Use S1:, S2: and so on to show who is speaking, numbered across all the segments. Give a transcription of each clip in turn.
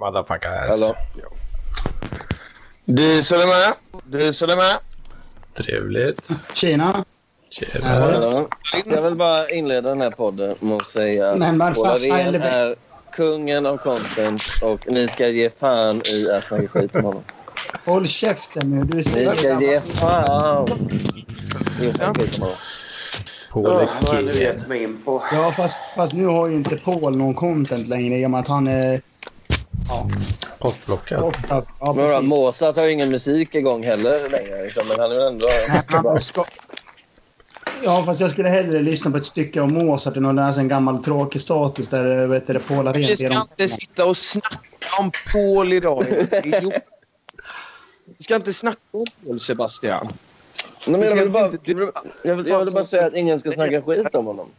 S1: motherfuckers.
S2: Hallå. Diesel är med. Diesel är med.
S1: Trevligt.
S3: Tjena.
S1: Tjena.
S2: Jag vill bara inleda den här podden med att säga att
S3: Men varför
S2: Ola Ren
S3: helvete?
S2: är kungen av content och ni ska ge fan i att snacka skit om honom.
S3: Håll käften nu. Du är så
S2: Ni ska ge
S3: gammal.
S2: fan i att snacka skit om honom.
S1: På
S4: Åh, Vad har
S1: det
S4: du
S1: killen.
S4: gett mig in på?
S3: Ja, fast, fast nu har ju inte Paul någon content längre i och med att han är
S1: Postblockad.
S3: borta. Ja,
S2: Men då,
S3: precis.
S2: Mozart har ju ingen musik igång heller längre. Liksom, men han är ju ändå...
S3: Han har ska... Ja, fast jag skulle hellre lyssna på ett stycke om Mozart än att läsa en gammal tråkig status där vet du, det pålar
S5: Vi
S3: rent
S5: ska
S3: genom...
S5: inte sitta och snacka om Paul idag. idiot. Vi ska inte snacka om Paul, Sebastian.
S2: Nej, men jag,
S5: ska
S2: vill bara,
S5: inte- du-
S2: jag, vill, jag vill bara säga att ingen ska snacka skit om honom.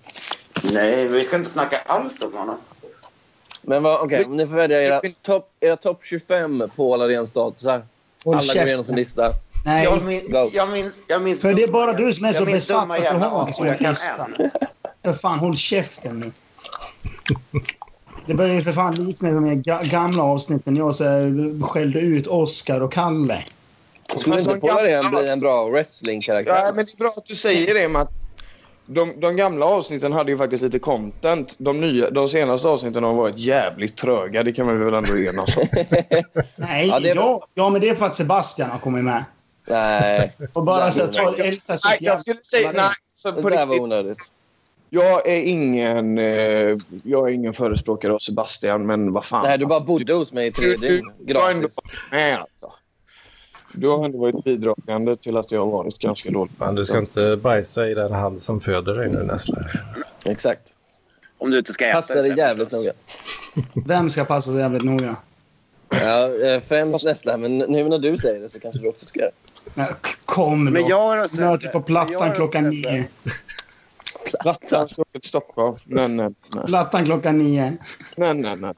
S4: Nej, vi ska inte snacka alls om honom.
S2: Men vad- okej, om ni får välja era topp era top 25 Paul Arén-statusar.
S3: Håll
S2: Alla går igenom sin
S3: käften.
S2: lista.
S3: Nej,
S4: Jag min-
S2: go.
S4: jag minns... Jag minns
S3: För det är bara du som är så
S4: jag minns
S3: besatt
S4: dumma
S3: att du
S4: jävla
S3: har en
S4: apor
S3: sån
S4: jag kan
S3: lista.
S4: än.
S3: för fan håll käften nu. Det börjar ju för fan likna de här ga- gamla avsnitten jag så här, skällde ut Oscar och Kalle.
S2: Skulle inte Paul Arén bli en bra wrestlingkaraktär?
S5: Ja, men det är bra att du säger det, Matt. De, de gamla avsnitten hade ju faktiskt lite content. De, nya, de senaste avsnitten har varit jävligt tröga. Det kan man väl ändå enas om.
S3: Nej,
S2: Ja,
S3: ja,
S2: det är-
S3: ja, men det är för att Sebastian har kommit med.
S2: Nej,
S3: Och bara så här, ta
S2: Nej,
S3: älta
S5: nej,
S3: sitt jävla...
S5: jag skulle säga... Nej, så
S2: det
S5: på
S2: där var
S5: riktigt.
S2: onödigt.
S5: Jag är ingen... Eh, jag är ingen förespråkare av Sebastian, men vad fan.
S2: Nej, du bara bodde hos mig i tre
S5: Du- du-
S2: dygn.
S5: du har ändå
S2: Gratis.
S5: varit med, alltså. Du har ändå varit bidragande till att jag har varit ganska dålig.
S1: Fan, du ska inte bajsa i den hand som föder dig nu Nessla.
S2: Exakt.
S4: Om du inte ska äta
S2: Passade
S4: sen,
S2: jävligt
S4: förstås.
S2: noga.
S3: Vem ska passa så jävligt noga?
S2: Ja, eh, främst nästa, men nu när du säger det så kanske du också ska göra det.
S3: Nej, k- Kom då.
S4: Men jag har sett
S3: Mötet
S4: det.
S3: typ på
S4: Jag har
S3: Plattan klockan
S4: sett det.
S3: nio.
S2: Plattan.
S5: Jag ska åka till Stockholm, men nej, nej,
S3: Plattan klockan nio.
S5: nej, nej, nej.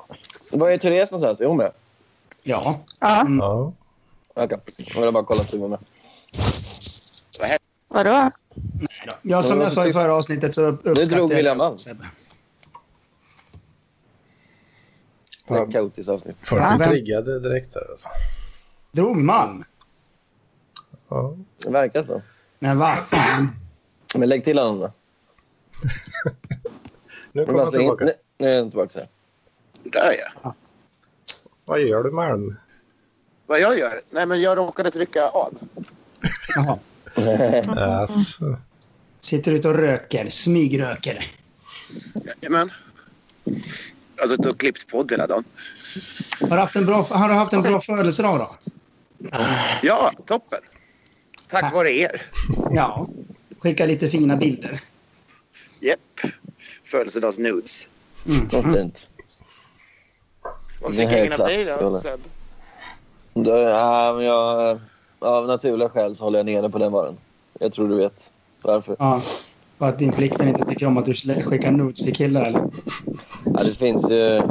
S2: Var är Therese någonstans? Är hon med?
S3: Ja.
S6: Ja,
S1: Ja.
S2: Okej, jag ville bara kolla att du var med.
S6: vadå?
S3: Ja, som
S2: Ja,
S3: jag sa i
S2: precis.
S3: förra avsnittet så upp- uppskattar
S2: drog
S3: jag
S2: William Alm.
S3: Sebbe.
S2: Det är ett kaotiskt avsnitt.
S1: Folk
S3: Va?
S1: blir triggade direkt där alltså.
S3: Drog Malm?
S1: Ja.
S2: Det verkar så.
S3: Men vad fan.
S2: Men lägg till honom då.
S1: Nu
S2: Men
S1: kommer jag
S2: alltså, bara släng in.
S1: tillbaka.
S2: Nej, nu är den tillbaka.
S5: Mm.
S2: Här.
S4: Där ja.
S1: Vad gör du Malm?
S4: Vad jag gör? Nej, men jag råkade trycka av.
S3: Jaha.
S1: Alltså.
S3: Sitter ute och röker. Smygröker.
S4: Jajamän. Jag har suttit och klippt podd hela dagen.
S3: Har du haft en bra, har du haft en bra födelsedag då?
S4: Ja, toppen. Tack vare er.
S3: Ja. Skicka lite fina bilder.
S4: Jepp. Födelsedagsnudes.
S2: Vad fint.
S4: Vad
S2: Det
S4: fick
S2: är
S4: jag in av
S2: klart,
S4: dig
S2: Olle.
S4: då, Seb?
S2: Då, ja, men jag, av naturliga skäl så håller jag nere på den varan. Jag tror du vet varför.
S3: Ja. För att din flickvän inte tycker om att du skickar nudes till killar eller?
S2: Ja, det finns ju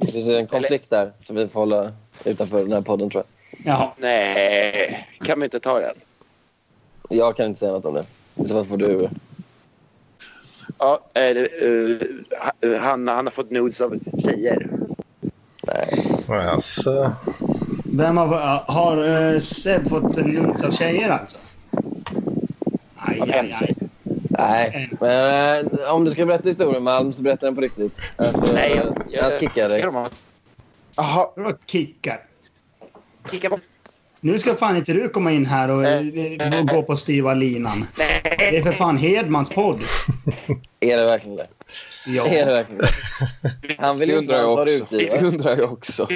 S2: det finns ju en konflikt där som vi får hålla utanför den här podden tror
S3: Jaha.
S4: Nej, kan vi inte ta den?
S2: jag. Jag kan inte säga något om det. I så fall får du...
S4: Ja, eh, eh, ha- han, han har fått nudes av tjejer.
S1: Alltså.
S3: Vem har, har eh, Seb fått nudes av tjejer alltså? Aj, aj, aj.
S2: Nej, men eh, om du ska berätta historien Malm så berätta den på riktigt. Alltså,
S4: Nej, jag-
S2: jag, jag kickar dig.
S4: Kan de ha-
S5: Jaha,
S3: Det var kickat.
S4: Kicka bort.
S3: Nu ska fan inte du komma in här och, eh, och gå på styva linan. Det är för fan Hedmans podd.
S2: Är det verkligen det?
S3: Ja.
S2: Är det verkligen det? Han vill
S5: det
S2: ju inte
S5: undrar jag
S2: ens vara
S5: också. Det
S2: utgivare.
S5: undrar jag också.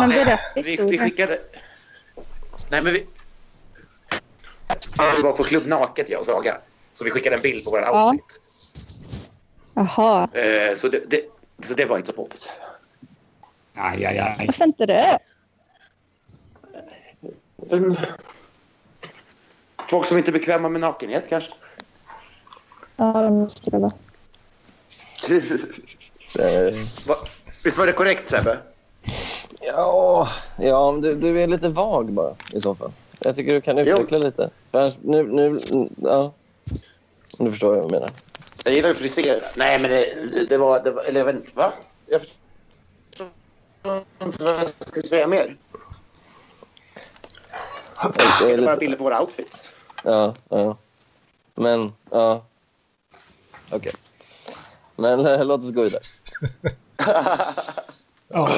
S6: Men berätta
S4: Vi, vi
S6: historien.
S4: skickade... Nej, men vi... Vi var på klubb naket, jag och Saga. Så vi skickade en bild på vår
S6: Ja.
S4: outfit.
S6: Jaha,
S4: Eh, så, det, det, så det var inte så poppis.
S3: Aj, aj, aj.
S6: varför inte det?
S4: Folk som inte är bekväma med nakenhet kanske.
S6: Ja, det måste det vara.
S2: Eh,
S4: Va, visst var det korrekt, Sebbe?
S2: Ja, ja men du, du är lite vag bara i så fall. Jag tycker du kan utveckla lite. För annars, nu, nu, ja. Nu förstår jag vad jag menar.
S4: Jag gillar ju frisera. Nej, men det, det, var, det var... Eller jag vet inte. Va? Jag förstår
S7: inte vad jag ska säga mer.
S2: Det
S7: Det
S2: är
S7: är bara
S2: lite,
S7: bilder på våra outfits.
S2: ja, ja. Men, ja. Okej. Men eh, låt oss gå vidare.
S3: Ja.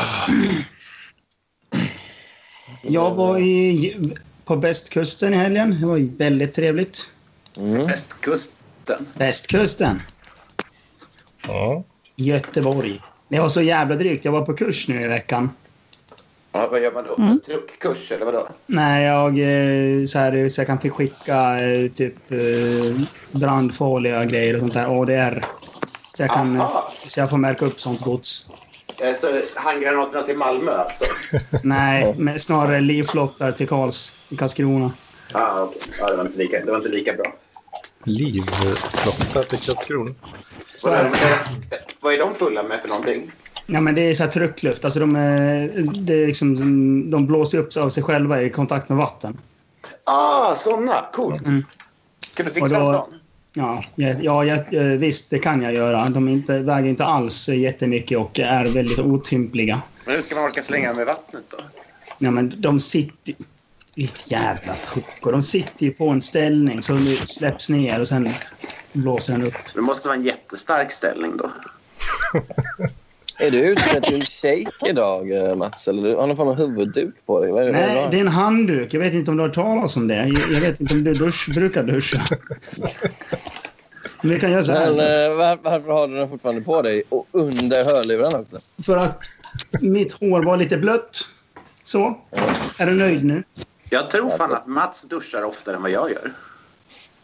S3: Jag var i, på bästkusten i helgen. Det var ju väldigt trevligt.
S7: Västkusten.
S3: Västkusten,
S1: Ja.
S3: Göteborg. Det var så jävla drygt. Jag var på kurs nu i veckan.
S7: Ja, vad gör man då? Mm. Truckkurs eller vadå?
S3: Nej, jag, eh, så, här, så jag kan skicka eh, typ eh, brandfarliga grejer och sånt där. ADR. Så jag, kan, eh,
S7: Aha.
S3: så jag får märka upp sånt gods.
S7: Eh, Så handgranaterna till Malmö alltså?
S3: Nej, men snarare livflottar till Karls, Karlskrona.
S7: Ah, okay. Ja, det var inte lika, det var inte lika bra.
S1: Livflottar till Karlskrona.
S3: Så
S7: Vad
S3: är
S7: är,
S3: det.
S7: de, vad är de fulla med för någonting?
S3: Ja, men det är så här tryckluft. Alltså de, eh, det är liksom, de- de blåser upp sig av sig själva i kontakt med vatten.
S7: Ah, såna! Coolt.
S3: Mm.
S7: Kan du
S3: Och
S7: fixa
S3: då-
S7: en sån?
S3: Ja, ja, ja, ja, eh, visst, det kan jag göra. De är inte, väger inte alls eh, jättemycket och är väldigt otympliga.
S7: Men hur ska man orka slänga dem i vattnet då?
S3: Ja, men de sitter... Ditt jävla pucko. De sitter ju på en ställning så de släpps ner och sen blåser den upp.
S7: Det måste vara en jättestark ställning då.
S2: Är du utklädd till shake idag, eh, Mats? Eller du har någon form av huvudduk på dig? Vad är det, vad är
S3: Nej, det
S2: det...
S3: är en handduk. Jag vet inte om du har hört talas om det. Jag, jag vet inte om du dusch, brukar duscha. Men vi kan göra så här. alltså.
S2: Men eh, var, varför har du den fortfarande på dig? Och under hörlurarna också?
S3: För att mitt hår var lite blött. Så. Är du nöjd nu?
S7: Jag tror fan att Mats duschar oftare än vad jag gör.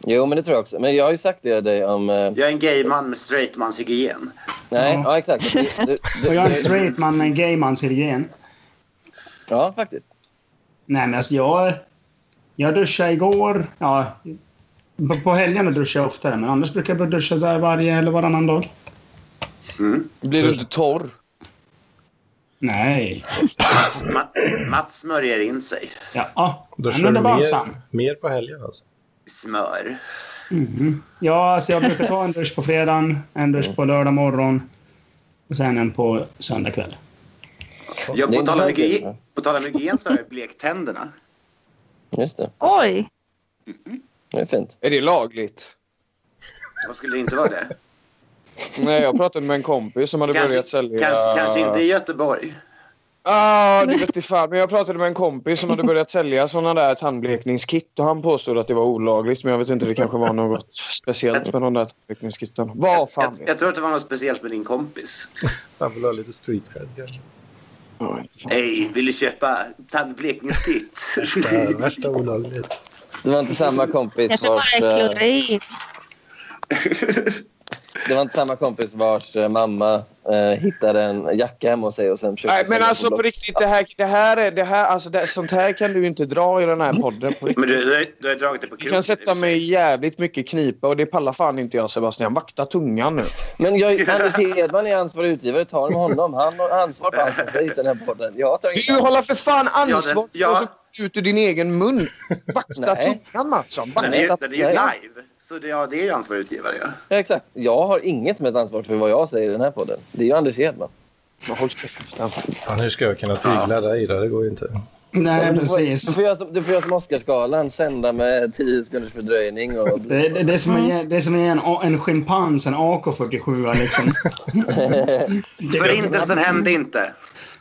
S2: Jo, men det tror jag också. Men jag har ju sagt det till dig om... eh,
S7: Jag är en gay man med straight mans hygien.
S2: Nej,
S3: Ja.
S2: ja, exakt. Du, du, du,
S3: Och jag är en
S2: du-
S3: straight man med en gay mans hygien.
S2: Ja, faktiskt.
S3: Nej, men alltså jag... Jag duschade igår. Ja, på, på helgerna duschar jag oftare, men annars brukar jag duscha så här varje eller varannan dag.
S5: Blir du inte torr?
S3: Nej.
S7: Mats, Ma, Mats smörjer in sig.
S3: Ja,
S1: Då kör du
S3: använder balsam.
S1: mer, mer på helgen alltså.
S7: Smör.
S3: Ja, alltså jag brukar ta en dusch på fredagen, en dusch på lördag morgon och sen en på söndag kväll.
S7: Jag,
S2: Det är
S7: på, tal om
S2: intressant,
S7: hygien,
S2: Peter.
S7: på tal om hygien så har jag blekt tänderna.
S2: Just det.
S6: Oj!
S2: Det är fint.
S5: Är det lagligt?
S7: Vad skulle det inte vara det?
S5: Nej, jag pratade med en kompis som hade
S7: Kanske,
S5: börjat sälja...
S7: kanske, kanske inte i Göteborg.
S5: Ah, det vete fan. Men jag pratade med en kompis som hade börjat sälja såna där tandblekningskit och han påstod att det var olagligt men jag vet inte, det kanske var något speciellt med de där tandblekningskitten. Vad fan
S7: Jag,
S5: vet
S7: jag tror att det var något speciellt med din kompis.
S1: Han vill ha lite street cred kanske.
S5: jag?
S7: Hej, vill du köpa tandblekningskit?
S1: Det är värsta olagligt.
S2: Det var inte samma kompis
S6: Kanske bara
S2: vars... eh,
S6: en klorin.
S2: Det var inte samma kompis vars eh, mamma eh, hittade en jacka hemma hos sig och sen försökte
S5: Nej, men
S2: sälja
S5: alltså på
S2: Blocket.
S5: riktigt, det här, det här är... Det här, alltså, det, sånt här kan du ju inte dra i den här podden. På riktigt.
S7: Men du, du, har- du har dragit det på
S5: Du
S7: kroken.
S5: kan sätta mig i jävligt mycket knipa och det pallar fan inte jag Sebastian. Vakta tungan nu.
S2: Men jag, Anders Hedman är ansvarig utgivare. Ta med honom. Han har ansvar för allt som sägs i den här podden. Jag tar inte
S5: Du håller för fan ansvar
S7: Ja, det-
S5: för vad som kommer ut ur din egen mun. Vakta
S2: Nej.
S5: tungan Mattsson.
S7: Den är ju,
S5: Vakta.
S7: den är ju live. Så det, ja, det är ju ansvarig utgivare. Ja.
S2: Ja, exakt. Jag har inget som ett ansvar för vad jag säger i den här podden. Det är ju Anders Hedman.
S5: Håll käften.
S1: Fan, hur ska jag kunna tygla dig då? Det går ju inte.
S3: Nej,
S2: Du får- Du
S3: precis.
S2: får göra, som- du får göra som Oscarsgalan. Sända med 10 sekunders fördröjning. Och...
S3: Det, det, det, är som är, det är som är en, a- en schimpans, en AK47 liksom.
S7: Förintelsen hände inte.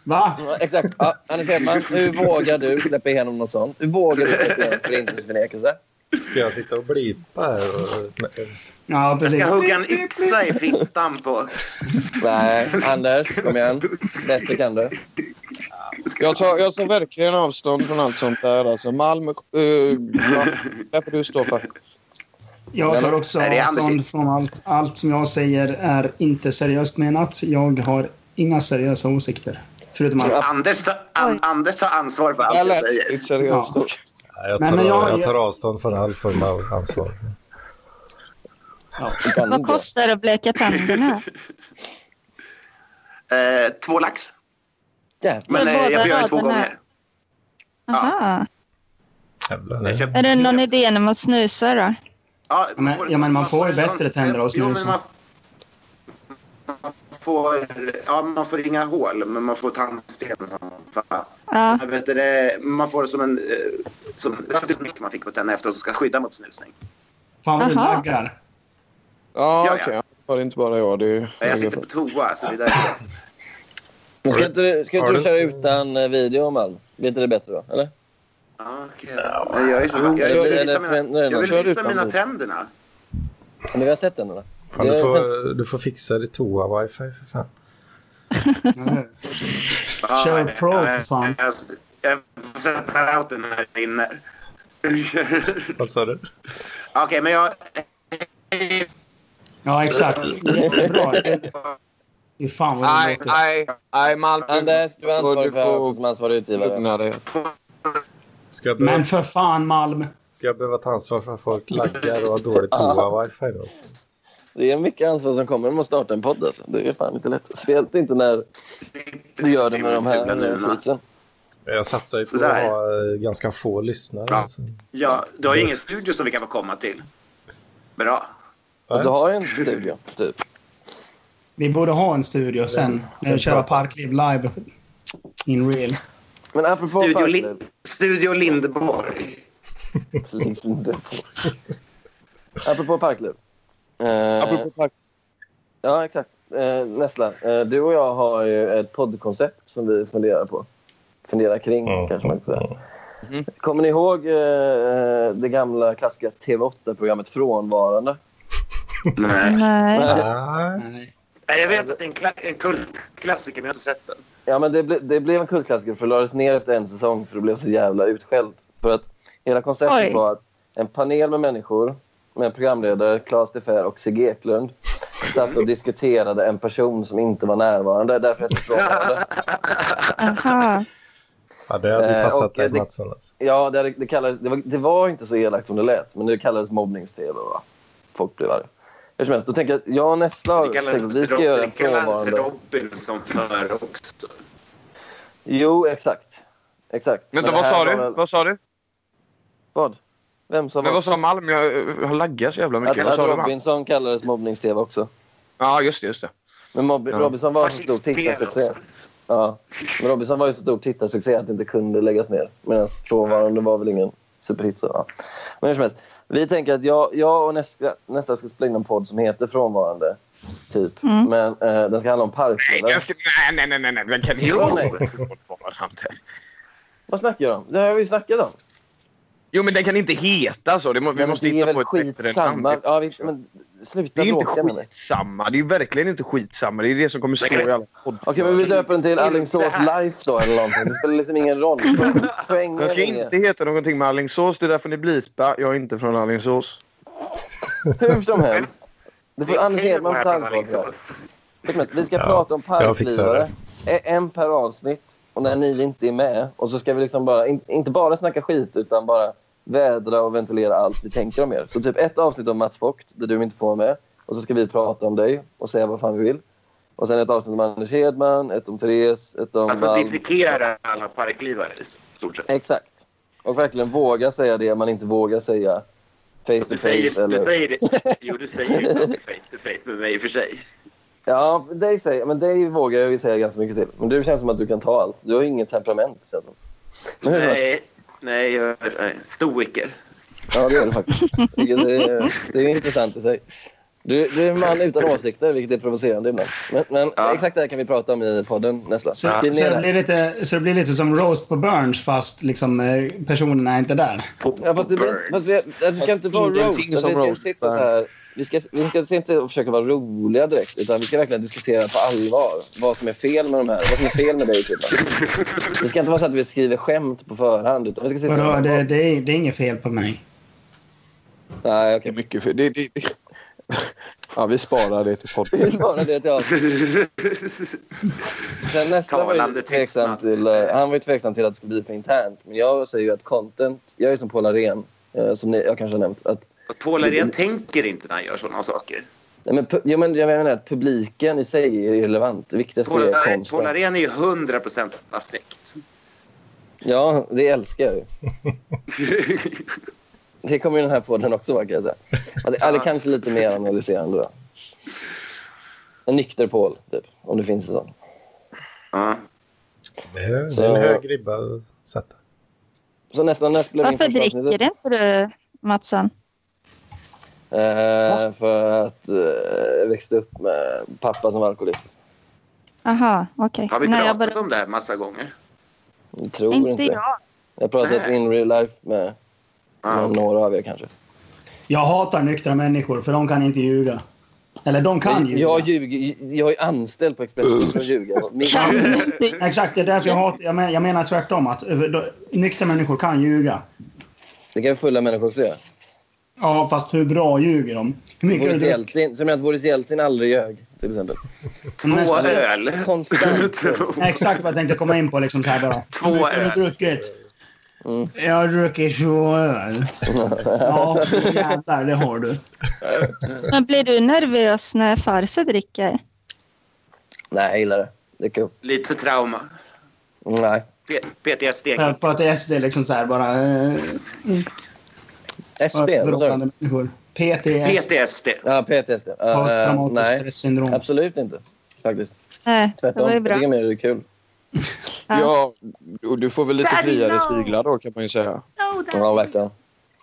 S3: Va?
S2: Ja, Exakt. Ja, Anders Hedman, hur vågar du släppa igenom något sånt? Hur vågar du släppa igenom förintelseförnekelse?
S1: Ska jag sitta och blipa här? Och... Nej.
S3: Ja,
S7: Jag
S3: precis.
S7: ska hugga en yxa i fittan på...
S2: Nej, Anders, kom igen. Bättre kan du.
S5: Jag tar, jag tar verkligen avstånd från allt sånt där. Alltså, Malm... Uh, ja, det får du stå för.
S3: Jag tar också
S7: Nej, det är Anders.
S3: avstånd från allt. Allt som jag säger är inte seriöst menat. Jag har inga seriösa åsikter. Förutom att...
S7: Anders, ta, an, Anders tar ansvar för allt
S5: Jag
S7: jag
S5: lät
S7: säger.
S5: lite seriöst.
S3: Ja.
S5: dock.
S1: Nej, jag, tar,
S3: Nej, men jag-
S1: jag tar avstånd från all form av ansvar.
S2: Du kan
S6: Vad
S2: inte.
S6: kostar det att bleka tänderna?
S7: Eh, två lax.
S2: Jävlar.
S7: Men
S6: Men
S7: eh, jag
S6: båda
S7: får göra det två
S6: raderna.
S7: gånger.
S6: Aha.
S1: Jävlar,
S7: Jag
S1: nej.
S7: köper-
S6: Är det någon idé när man snusar då?
S7: Ja,
S3: men- ja, men man får ju bättre tänder av
S7: Jo, men
S3: snusen.
S7: man- man får, ja, man får inga hål, men man får tandsten som fan.
S6: Ja,
S7: Jag Vet du, det, man får det som en... eh, Som, det var typ mycket man fick på tänderna efteråt som ska skydda mot snusning.
S3: Fan vad du
S6: Aha.
S3: laggar.
S5: Ja,
S7: Ja,
S5: okej.
S7: ja.
S5: ja. Det var inte bara jag. Det är ju...
S7: Jag sitter på toa, så det är därför.
S2: Men Ska inte du, ska
S1: Har
S2: inte du
S1: du
S2: köra
S1: inte-
S2: utan eh, video, man? Blir inte det bättre då? Eller?
S7: Ja, okej. Nej, Jag, är så, jag, jag,
S2: Eller-
S7: vill
S2: eller
S7: visa mina,
S2: förändra
S7: jag
S2: den.
S7: vill visa
S5: Kör
S7: mina
S5: utan
S7: tänderna.
S2: Men vi har sett den, eller?
S1: Fan,
S2: Det
S1: du,
S2: är
S1: får, du får fixa ditt toa-wifi för fan.
S3: Eller
S7: Ja,
S3: Kör
S7: jag-
S3: Pro,
S7: jag-
S3: för fan.
S7: Jag, jag, jag sätter routern här inne. Okej,
S1: Vad sa du?
S7: men jag...
S3: Ja, exakt. Jättebra. Det är fan vad det
S5: Nej,
S3: låter.
S5: nej, nej, Malm.
S2: Anders, du är ansvarig
S5: du
S2: för det här
S5: får- Mm.
S2: också, som ansvarig utgivare.
S5: Lugna dig.
S1: Ska jag, behöva,
S3: Men för fan Malm.
S1: ska jag behöva ta ansvar för att folk laggar och har dåligt toa-wifi då? också?
S2: Det är mycket ansvar som kommer om att starta en podd. Alltså. Det är fan inte lätt. Speciellt inte när du gör det med de här eh, skitsen.
S1: Jag satsar ju på att
S7: Sådär.
S1: ha eh, ganska få lyssnare.
S7: Ja.
S1: Alltså.
S7: Ja, du har ju ingen studio som vi kan få komma till. Bra.
S2: Och Du har en studio, typ.
S3: Vi borde ha en studio sen. När vi kör Parkliv live. In real.
S2: Men apropå
S7: Studio,
S2: Parkliv.
S7: Lin- studio Lindborg.
S2: apropå Parkliv. Eh,
S5: Apropå tack.
S2: Ja, exakt. Eh, Nessla, eh, du och jag har ju ett poddkoncept som vi funderar på. Funderar kring,
S1: Mm.
S2: kanske man kan säga. Kommer ni ihåg eh, det gamla klassiska TV8-programmet Frånvarande?
S7: Nej.
S6: nej.
S1: Nej.
S3: Nej.
S7: Nej, Jag vet att det är en, kla- en kultklassiker, men jag har inte sett den.
S2: Ja, men det, ble, det blev en kultklassiker för det lades ner efter en säsong för det blev så jävla utskällt. För att hela konceptet
S6: Oj.
S2: var att en panel med människor med programledare, Claes De Geer och Sigge Eklund satt och diskuterade en person som inte var närvarande. Därför hette det Frånvarande.
S6: Aha.
S1: Ja, det hade ju
S2: Eh,
S1: passat
S2: och
S1: dig,
S2: det-
S1: Mattsson. Alltså.
S2: Ja, det, det, kallades, det, var, det var inte så elakt som det lät, men det kallades mobbnings-tv. va? Folk blev arga. Hur som helst, då tänker jag att jag och Nessla har
S7: Det
S2: tänkt att
S7: kallas,
S2: vi ska göra en
S7: det kallas
S2: frånvarande.
S7: Robin som för också.
S2: Jo, exakt. Exakt. Men
S5: Vänta,
S2: det
S5: vad
S2: här
S5: sa
S2: var
S5: du?
S2: väl-
S5: Vad sa du?
S2: Vad? Vem sa
S5: Men
S2: vad?
S5: vad sa Malm? Jag jag har laggat så jävla mycket.
S2: Att,
S5: Vad
S2: att
S5: sa du Malm?
S2: Robinson kallades mobbnings-tv också.
S5: Ja, just det. Just det.
S2: Men Mob-
S5: Ja.
S2: Robinson var en så stor
S7: Fascist-tv
S2: tittarsuccé.
S7: också.
S2: Ja. Men Robinson var ju så stor tittarsuccé att det inte kunde läggas ner. Medan frånvarande var väl ingen superhit. Så, ja. Men hur som helst. Vi tänker att jag, jag och nästa, nästa ska spela in en podd som heter Frånvarande. Typ.
S6: Mm.
S2: Men eh, den ska handla om
S5: Nej,
S2: parkbilar.
S5: den ska... nej, nej, nej, nej, nej. Den kan
S7: Jo.
S5: inte Frånvarande.
S2: Vad snackar jag om? Det har vi ju snackat om.
S5: Jo, men den kan inte heta så. Det må, vi måste
S2: det är
S5: hitta
S2: väl
S5: på ett
S2: skitsamma.
S5: namn.
S2: Ja, vi, men
S5: Det
S2: sluta
S5: är ju inte
S2: bråka med mig.
S5: skitsamma. Det är ju verkligen inte skitsamma. Det är det som kommer stå
S7: Men-
S5: i alla podd.
S2: Okej, men vi döper den till
S7: Inte
S2: Alingsås
S7: här.
S2: Life då eller någonting. Det spelar liksom ingen roll. Poängen
S5: Den ska
S2: är-
S5: inte heta någonting med Alingsås. Det är därför ni blipar. Jag är inte från Alingsås.
S2: Hur som helst. Det
S7: Det
S2: får
S7: är
S2: Anders
S7: fel
S2: Hedman
S7: på
S2: får ta
S7: här på
S2: ansvar för det här.
S7: Alingsås.
S2: Vet du vad, Vi ska
S1: Ja,
S2: prata om
S1: jag fixar
S2: parklivare. E- En per avsnitt. Och när ni inte är med. Och så ska vi liksom bara, in, inte bara snacka skit utan bara vädra och ventilera allt vi tänker om er. Så typ ett avsnitt om Mats Vogt där du inte får vara med. Och så ska vi prata om dig och säga vad fan vi vill. Och sen ett avsnitt om Anders Hedman, ett om Therese, ett om...
S7: Alltså
S2: Malm.
S7: dissekera alla parklivare i stort sett.
S2: Exakt. Och verkligen våga säga det man inte vågar säga face to
S7: Du
S2: face.
S7: säger,
S2: eller...
S7: du säger det. Jo, du säger ju inte face to face med mig i och för sig.
S2: Ja, dig, säger, men dig vågar jag ju säga ganska mycket till. Men du känns som att du kan ta allt. Du har ju inget temperament. Känns det. Men hur som helst,
S7: Nej, nej, jag är stoiker.
S2: ja, det är det faktiskt. Vilket är, det är intressant i sig. Du, du är en man utan åsikter, vilket är provocerande ibland. Men, men
S7: Ja.
S2: exakt det här kan vi prata om i podden nästa.
S3: Så,
S2: Skriv
S3: så,
S2: ner
S3: det
S2: det.
S3: blir lite, så det blir lite som roast på Burns fast liksom, eh, personerna är inte där.
S2: Ja, fast det blir, inte- fast det, alltså, det ska inte vara
S5: ingenting
S2: roast. utan
S5: som
S2: Vi ska,
S5: roast,
S2: sitta så här, vi, ska, vi ska inte försöka vara roliga direkt, utan vi ska verkligen diskutera på allvar vad som är fel med de här. Vad som är fel med dig, typ. Det ska inte vara så att vi skriver skämt på förhand. Utan vi ska sitta
S3: Vadå, det, det, är, det är inget fel på mig.
S2: Nej, okej.
S5: Det är mycket för... Det, det, det. Ja, vi sparar det till
S2: Det
S5: podden.
S2: är bara det att jag... Sen nästa var ju
S7: Talande
S2: tveksam
S7: tystnad.
S2: till, eh, han var ju tveksam till att det skulle bli för internt. Men jag säger ju att content... Jag är som Paul Arén, eh, som ni, jag kanske har nämnt. Att,
S7: Paul Arén tänker inte när han gör sådana saker.
S2: nej, men, pu- jo, men jag menar att publiken i sig är irrelevant. Det viktigaste
S7: Paul
S2: är
S7: Arén- Paul
S2: konsten.
S7: Arén är ju 100 procent affekt.
S2: Ja, det älskar jag ju. Det kommer ju den här podden också vara, kan jag säga. Ja, det, ja. det kanske är lite mer analyserande då. En nykter pål, typ. Om det finns en sån.
S7: Ja.
S1: Det är, det
S2: Så-
S1: är en hög ribba att sätta.
S2: Så nästan näst blev min
S6: Varför
S2: första
S6: dricker
S2: avsnittet.
S6: inte du, Mattsson?
S2: Eh, för att eh, jag växte upp med pappa som var alkoholist.
S6: Aha, okej.
S7: Har vi
S6: Nej, jag
S7: pratat
S6: bara...
S7: om det här massa gånger?
S2: Jag tror inte,
S6: Inte jag.
S2: Jag har pratat
S7: Nej.
S2: in real life med,
S7: Ja.
S2: med några av er kanske.
S3: Jag hatar nyktra människor, för de kan inte ljuga. Eller de kan ljuga.
S2: Jag, ljuger, jag är anställd på Expressen för att ljuga. Min,
S6: Kan inte.
S3: Exakt, det är därför jag hatar. Jag, men, jag menar tvärtom. att eh, då, Nyktra människor kan ljuga.
S2: det kan fulla människor också göra.
S3: Ja, fast hur bra ljuger de? Hur mycket har
S2: Boris
S3: du druckit?
S2: Jeltsin, som att Boris Jeltsin aldrig ljög, till exempel.
S7: Två
S3: Men-
S7: öl.
S2: Konstant.
S3: Exakt vad jag tänkte komma in på. Liksom så här bara.
S7: Två
S3: Hur mycket har du
S7: öl.
S3: druckit?
S2: Mm.
S3: Jag har druckit två öl. Ja, jävlar, det har du.
S6: Men blir du nervös när farsa dricker?
S2: Nej, jag gillar det. Det är kul.
S7: Lite trauma.
S2: Nej.
S7: P- PTSD.
S3: Jag pratar SD liksom så här bara. eh,
S2: SD? vad sa du?
S3: Beroende människor. PTS.
S7: PTSD.
S2: Ja, PTSD. Eh, eh,
S3: Posttraumatiskt
S2: nej,
S3: stressyndrom.
S2: absolut inte. Faktiskt.
S6: Nej, det
S2: Tvärtom.
S6: var ju
S2: Jag tycker
S6: bra.
S2: mer det är kul.
S6: Ja.
S5: Ja, och du får väl lite
S6: Daddy,
S5: friare
S6: no.
S5: tyglar då kan man ju säga.
S2: Ja, verkligen.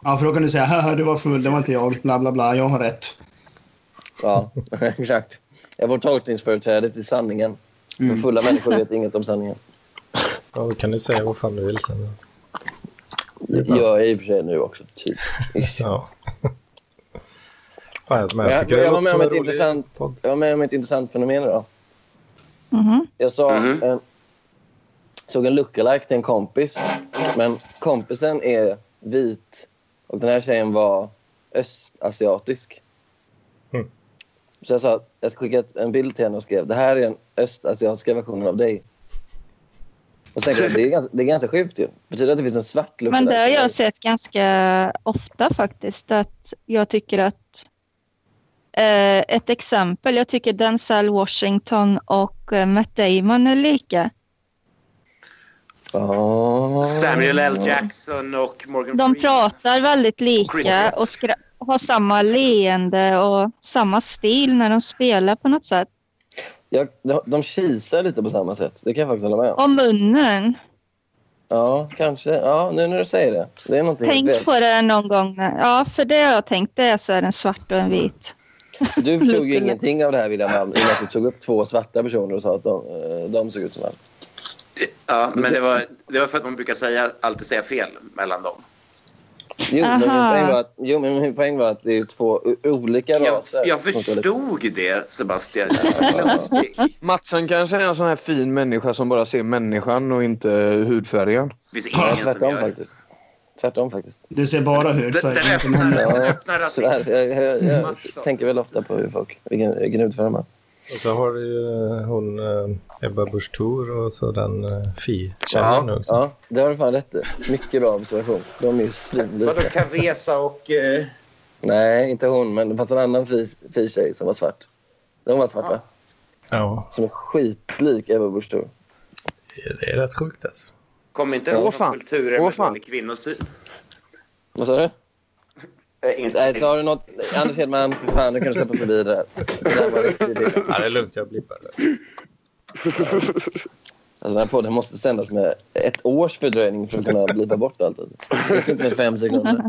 S3: Ja, för då kan du säga haha du var full, det var inte jag, bla bla bla, jag har rätt.
S2: Ja, exakt. Jag får tolkningsföreträde till sanningen. Men fulla människor vet inget om sanningen.
S1: Ja, då kan du säga vad fan du vill sen.
S2: Det gör jag i och för sig nu också. Typ.
S1: Ja. Fan, men
S2: Jag-
S1: jag, tycker
S2: jag
S1: det
S2: var med
S1: låter som
S2: om
S1: en
S2: ett
S1: rolig
S2: intressant-
S1: podd.
S2: Jag var med om ett intressant fenomen idag.
S6: Mhm.
S2: Jag sa,
S7: Mhm.
S2: en, såg en lookalike till en kompis. Men kompisen är vit och den här tjejen var östasiatisk.
S1: Mm.
S2: Så jag sa, jag skickade en bild till henne och skrev det här är den östasiatiska versionen av dig. Och sen, det, är ganska, det är ganska sjukt ju. Betyder det att det finns en svart lookalike?
S6: Men det har jag sett ganska ofta faktiskt. Att jag tycker att... Eh, ett exempel. Jag tycker Denzel Washington och eh, Matt Damon är lika.
S2: Ah.
S7: Samuel L. Jackson och Morgan Freeman.
S6: De pratar väldigt
S7: Chris
S6: lika
S7: Rock.
S6: och skra- har samma leende och samma stil när de spelar på något sätt.
S2: Jag, de, de kisar lite på samma sätt. Det kan jag faktiskt hålla med om.
S6: Och munnen.
S2: Ja, kanske. Ja, nu när du säger det. Det är någonting
S6: Tänk
S2: helt
S6: på det någon gång. när- Ja, för det har jag tänkt. Det är så är den svart och en vit.
S2: Du förstod ju
S6: Lookalike.
S2: ingenting av det här, William Malm, i och med att du tog upp två svarta personer och sa att de, eh, de såg ut som han.
S7: Ja, men det var, det var för att man brukar säga, alltid säga fel mellan dem.
S2: Jo, men min
S6: Aha.
S2: poäng var att, jo, men min poäng var att det är två o- olika
S7: Jag,
S2: raser.
S7: jag
S2: som står lite-
S7: förstod det, Sebastian. Lustig.
S5: Matsen kanske är en sån här fin människa som bara ser människan och inte hudfärgen.
S7: Det finns
S2: Ja,
S7: ingen som
S2: tvärtom
S7: gör det.
S2: faktiskt. Tvärtom faktiskt.
S3: Du ser bara
S7: Den
S3: hudfärg.
S7: den öppnar, den
S2: Ja,
S7: öppnar rasism.
S2: tyvärr. Jag, jag, jag,
S7: Massor.
S2: jag tänker väl ofta på hur folk, vilken vilken hudfärg de har.
S1: Och så har du ju hon eh, Ebba Busch Thor och så den eh,
S2: Ja,
S1: Fi-tjejen också.
S2: ja, det har du fan rätt i. Mycket bra observation. De är ju svinlika.
S4: Vadå, Teresa och... eh,
S2: Nej, inte hon, men det fanns en annan fi- fi-tjej som var svart. Hon var svart, va?
S1: Ja,
S2: Som är skitlik Ebba Busch Thor.
S1: det är rätt sjukt alltså.
S7: Kom inte
S2: Åh,
S7: ihåg
S5: fan.
S7: från kulturen
S5: Åh,
S7: med
S5: fan.
S7: dålig kvinnosyn.
S2: Vad sa du?
S7: Äh, inget-
S2: Nej, så har du något... Anders Hedman, för fan, du kan släppa förbi det där. Det där var riktigt illa.
S1: Ja, det är lugnt, jag blippar det.
S2: Alltså, den här podden måste sändas med ett års fördröjning för att kunna blipa bort allt. alltså. Inte med fem sekunder.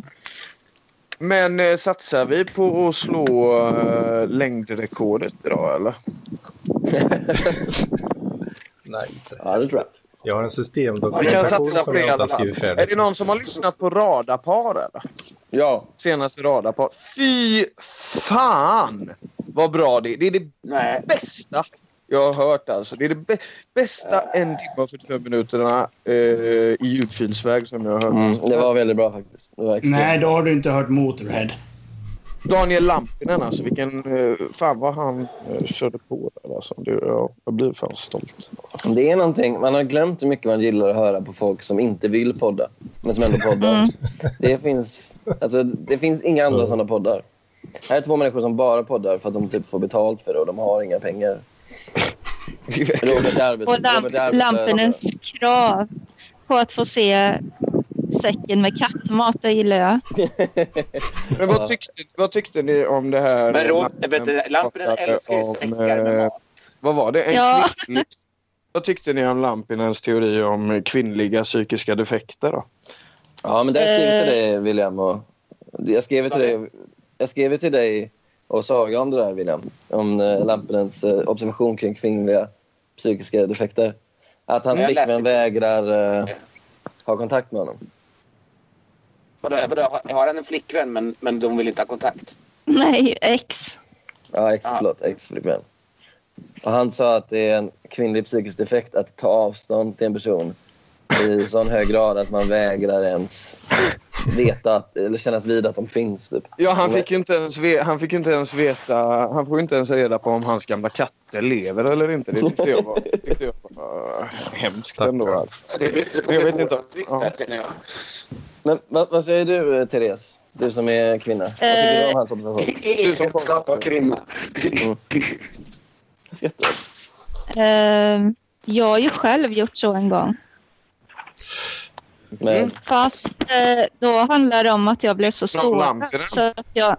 S5: Men eh, satsar vi på att slå eh, längdrekordet idag eller?
S1: Nej,
S2: Ja, det tror jag.
S1: jag har en
S5: Vi kan
S1: systemdokumentation
S5: satsa på
S1: som
S5: det i
S1: jag inte
S5: alla
S1: har
S5: fall.
S1: skrivit
S5: Är det
S1: färdigt.
S5: någon som har lyssnat på Radapar eller?
S2: Ja.
S5: Senaste Radapar. Fy fan vad bra det är. Det är det
S4: Nej.
S5: bästa jag har hört alltså. Det är det bä- bästa en timme och 45 minuterna eh, i ljudfilsväg som jag har hört.
S2: Mm, det var väldigt bra faktiskt. Det var extremt.
S3: Nej, då har du inte hört Motörhead.
S5: Daniel Lampinen alltså, vilken... eh, Fan vad han eh, körde på där alltså. Det, jag, jag blir fan stolt.
S2: Det är någonting. Man har glömt hur mycket man gillar att höra på folk som inte vill podda, men som ändå poddar.
S6: Mm.
S2: Det, finns, alltså, det finns inga andra
S1: Mm.
S2: såna poddar. Här är två människor som bara poddar för att de typ får betalt för det och de har inga pengar. Robert är arbets-
S6: Och
S2: Robert är
S6: lamp-
S2: arbetslös.
S6: lampornas krav på att få se säcken med kattmat, det gillar jag.
S5: Men vad tyckte, vad tyckte ni om det här?
S7: Men Rod,
S5: Lappen
S7: vet du, Lampinen
S5: pratade
S7: älskar ju
S5: om,
S7: säckar med
S5: eh,
S7: mat.
S5: Vad var det? En
S6: Ja.
S5: kvinnlig... Vad tyckte ni om Lampinens teori om kvinnliga psykiska defekter? Då?
S2: Ja, men det skrev jag till
S6: Eh.
S2: dig, William. Och jag, skrev ju till dig, jag skrev ju till dig och Saga om det där, William. Om eh, Lampinens eh, observation kring kvinnliga psykiska defekter. Att hans
S7: Jag läste
S2: flickvän
S7: inte.
S2: vägrar eh, ha kontakt med honom.
S7: Vadå, vadå, har- har han en flickvän men, men de vill inte ha kontakt?
S6: Nej, ex.
S2: Ja, ex,
S7: Ja.
S2: förlåt. Ex-flickvän. Och han sa att det är en kvinnlig psykisk defekt att ta avstånd till en person i sån hög grad att man vägrar ens veta att, eller kännas vid att de finns. Typ.
S5: Ja, han fick, ju inte ens ve- han fick ju inte ens veta... Han får ju inte ens reda på om hans gamla katter lever eller inte. Det tyckte jag var, tyckte jag var eh, hemskt ändå. Alltså. Jag vet inte. Ja.
S2: Men vad, vad säger du, eh, Therese? Du som är kvinna. Vad tycker du om hans observation?
S5: Du som
S7: av kvinna.
S2: Skrattar
S6: Eh, jag har ju själv gjort så en gång.
S2: du?
S6: mm.
S2: Men,
S6: Fast eh, då handlar det om att jag blev så skådad.
S5: Lampinen.
S6: Så att jag...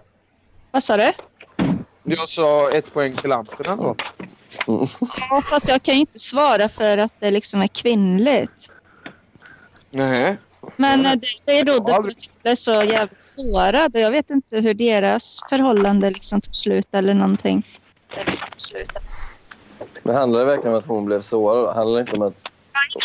S6: Vad sa du?
S5: Jag sa ett poäng till Lampinen då.
S6: Ja, fast jag kan ju inte svara för att det liksom är kvinnligt.
S5: Nej.
S6: Men eh, det- det är då därför att jag blev så jävligt sårad. Och jag vet inte hur deras förhållande liksom tog slut eller någonting.
S2: men handlar det verkligen om att hon blev sårad? Handlar det inte om att...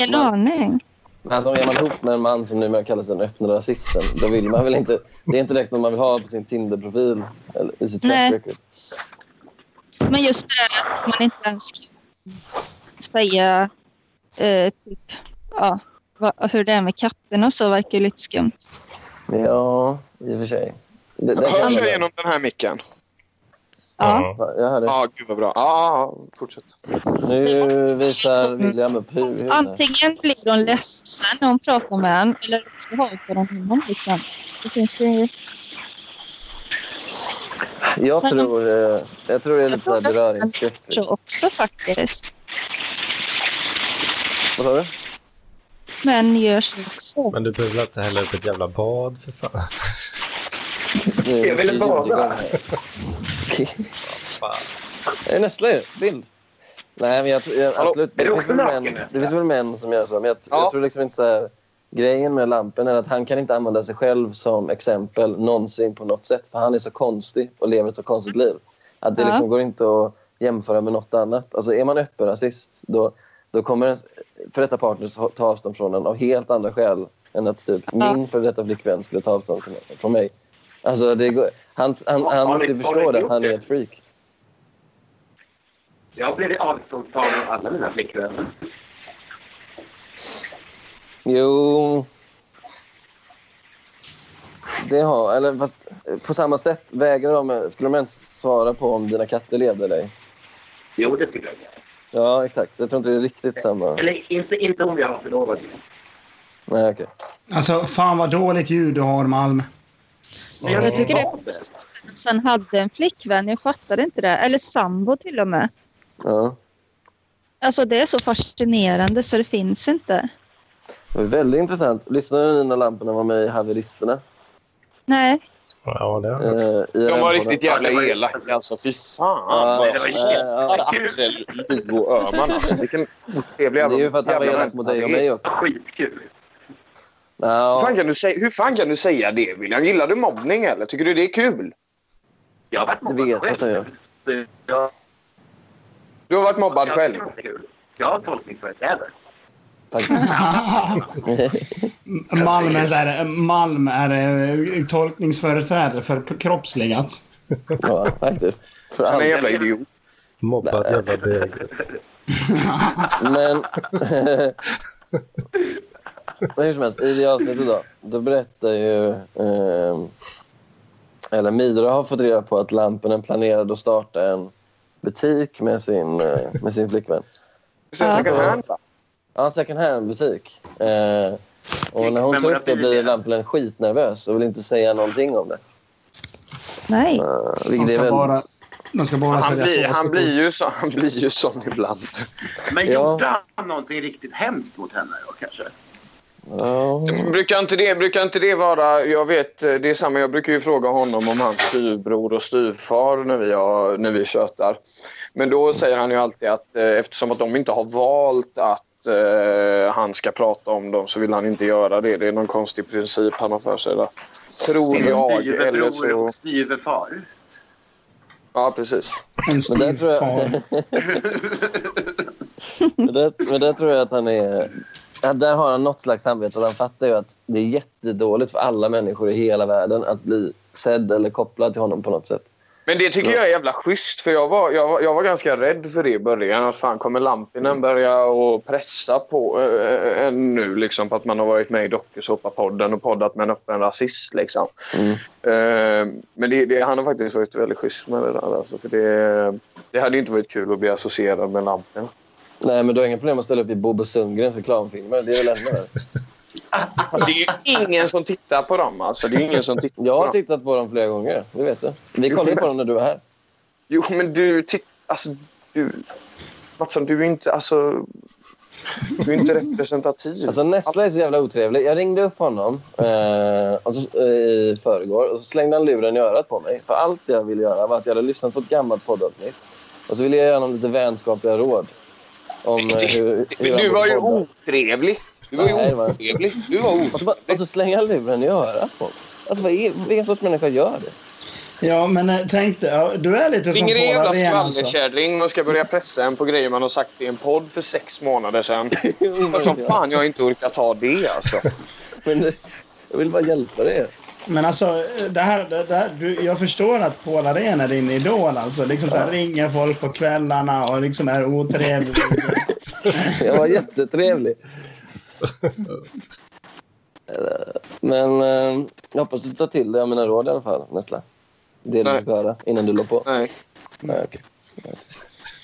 S6: Ingen aning.
S2: Men Alltså, om man är ihop med en man som numera kallas den öppna rasisten, då vill man väl inte... Det är inte direkt någon man vill ha på sin Tinder-profil eller i sitt
S6: Nej.
S2: track record.
S6: Men just det där att man inte ens kan säga eh, typ, ja, vad, hur det är med katterna och så verkar ju lite skumt.
S2: Ja, i och för sig. Det, det
S5: Hörs jag genom den här micken?
S6: Ja.
S2: Jag hörde.
S5: Ja, gud vad bra. Ja, fortsätt.
S2: Nu visar William upp huvudet.
S6: Antingen blir hon ledsen när hon pratar med honom eller så hatar hon honom. Liksom. Det finns ju...
S2: Jag tror, eh, jag tror det är
S6: Jag
S2: lite så här
S6: tror det är en
S2: beröringsskräck.
S6: så också faktiskt.
S2: Vad sa du?
S6: Män gör så också.
S1: Men du behöver väl inte hälla upp ett jävla bad för fan?
S2: Nu,
S7: Jag ville
S2: vi
S7: bara.
S2: gjorde igång här. Det är Eh, nästa ju. Bild. Nej, men jag tror jag,
S7: Hallå,
S2: absolut.
S7: är
S2: Det
S7: du
S2: finns,
S7: också
S2: väl
S7: naken
S2: män,
S7: nu?
S2: det finns väl män som gör så. Men jag,
S5: Ja.
S2: jag tror liksom inte så här, Grejen med lampen är att han kan inte använda sig själv som exempel någonsin på något sätt. För han är så konstig och lever ett så konstigt liv. Att det
S6: Ja.
S2: liksom går inte att jämföra med något annat. Alltså är man öppen rasist då, då kommer ens före detta partner så ta avstånd från en av helt andra skäl än att typ
S6: Ja.
S2: min före detta flickvän skulle ta avstånd till mig, från mig. Alltså det går, han, han,
S7: Har-
S2: han
S7: har
S2: måste
S7: ni-
S2: ju
S7: har ni
S2: förstå det, att
S7: gjort
S2: han är
S7: det?
S2: ett freak.
S7: Jag har blivit avståndstagen av alla mina flickvänner.
S2: Jo... Det har... Eller fast eh, på samma sätt vägrar de... Skulle de ens svara på om dina katter levde eller ej?
S7: Jo, det skulle jag göra.
S2: Ja, exakt. Så jag tror inte det är riktigt samma.
S7: Eller inte, inte om jag har förlovat mig.
S2: Nej, okej.
S3: Alltså, fan vad dåligt ljud du har, Malm.
S7: Men jag
S6: Jag tycker det är
S7: var
S6: konstigt att han hade en flickvän. Jag fattar inte det. Eller sambo till och med.
S2: Ja.
S6: Alltså det är så fascinerande så det finns inte.
S2: Det var väldigt intressant. Lyssnade ni när lamporna var med i Haveristerna?
S6: Nej.
S1: Ja, det har
S2: Eh,
S1: jag.
S2: i
S5: De
S2: den
S5: var
S2: podden?
S5: riktigt jävla elaka alltså. Fy fan vad
S2: Ja,
S5: jag
S2: nej, ja.
S5: hatar Axel, Viggo och Öhman. alltså. Vilken otrevlig
S2: Det är ju
S5: jävla-
S2: för att han var
S5: jävla
S2: elak mot dig och
S5: människa.
S2: mig också.
S7: skitkul.
S5: Hur fan,
S2: Ja,
S5: kan du säga, hur fan kan du säga det William? Gillar du mobbning eller? Tycker du det är kul?
S7: Jag har varit
S2: det
S7: mobbad
S2: vet jag att han
S7: själv.
S2: gör.
S7: Så jag-
S5: Du har varit mobbad
S7: jag
S5: själv.
S7: tycker inte det är kul. Jag har tolkningsföreträde.
S2: Faktiskt.
S3: Malm är, så här, Malm är eh, tolkningsföreträdare för kroppsligat.
S2: Ja, faktiskt. För
S5: Han är en
S2: allt.
S5: jävla idiot.
S1: Mobbat jävla böget.
S2: Men... Men hur som helst, i det avsnittet då, då berättar ju... Eh, eller Midra har fått reda på att Lampinen planerade att starta en butik med sin, eh, med sin flickvän.
S5: Sen så kan han...
S2: Ja, en second hand-butik. Eh, och när hon tar upp det blir Lampinen skitnervös och vill inte säga någonting om det.
S6: Nej.
S2: Eh,
S3: De
S2: vilket är
S3: ska
S2: väl...
S3: bara, de ska bara
S5: Han
S2: Alltså,
S3: sälja
S5: blir,
S3: sås typ till-
S5: han, blir ju så, han blir ju sån ibland.
S7: Men
S2: Ja.
S7: gjorde han någonting riktigt hemskt mot henne då kanske?
S2: Ja.
S5: Brukar inte, det, brukar inte det vara... Jag vet, eh, det är samma. Jag brukar ju fråga honom om hans styrbror och styrfar när vi, har, när vi tjötar. Men då säger han ju alltid att eh, eftersom att de inte har valt att eh, han ska prata om dem så vill han inte göra det. Det är någon konstig princip han har för sig. Där. Tror jag. Eller
S7: Styvebror
S5: så...
S7: och styvefar.
S5: Ja, precis.
S3: En
S2: Men där, tror jag,
S3: styvfar.
S2: men, där, men där tror jag att han är... ja, Där har han något slags samvete. Han fattar ju att det är jättedåligt för alla människor i hela världen att bli sedd eller kopplad till honom på något sätt.
S5: Men det tycker jag är jävla schysst för jag var, jag var, jag var ganska rädd för det i början. Att fan kommer Lampinen börja och pressa på eh, en nu liksom på att man har varit med i dokusåpapodden och poddat med en öppen rasist liksom.
S2: Mm.
S5: Eh, men det, det, han har faktiskt varit väldigt schysst med det där alltså, för det, det hade ju inte varit kul att bli associerad med Lampinen.
S2: Nej, men du har inga problem att ställa upp i Bobo Sundgrens reklamfilmer. Det är väl ännu värre.
S5: Fast det är ju ingen som tittar på dem alltså. Det är ingen som tittar
S2: Jag
S5: på
S2: har
S5: dem.
S2: tittat på dem flera gånger. Det vet du. Vi kollade ju på dem när du var här.
S5: Jo, men du... Titt, alltså, du... Mattsson, du är inte... Alltså, du är inte representativ.
S2: Alltså Nessla är så jävla otrevlig. Jag ringde upp honom eh, och så, eh, i förrgår och så slängde han luren i örat på mig. För allt jag ville göra var att jag hade lyssnat på ett gammalt poddavsnitt och så ville jag ge honom lite vänskapliga råd. Om eh, hur, hur
S5: Men
S2: han borde
S5: du var ju
S2: podda.
S5: otrevlig. Du var ju
S2: Nej, det var-
S5: otrevlig. Du var
S2: och så,
S5: otrevlig.
S2: bara- och så slänger han luren i örat på mig. Alltså, vad är, vilken sorts människa gör det?
S3: Ja, men eh, tänk dig. Ja, du är lite som
S5: Ringer en jävla
S3: Polar igen alltså.
S5: skvallerkärring och ska börja pressa en på grejer man har sagt i en podd för sex månader sedan. För som fan jag har inte orkat ta det alltså.
S2: Men, det- jag vill bara hjälpa dig.
S3: Men alltså, eh, det här, det, det här, du, jag förstår att Paul Arén är din idol alltså. Liksom så här, ringer folk på kvällarna och liksom är otrevlig.
S2: Jag var jättetrevlig. Men eh, jag hoppas du tar till dig av mina råd i alla fall, Nessla. Det du
S5: Nej.
S2: fick höra innan du låg på.
S5: Nej.
S2: Nej, okej.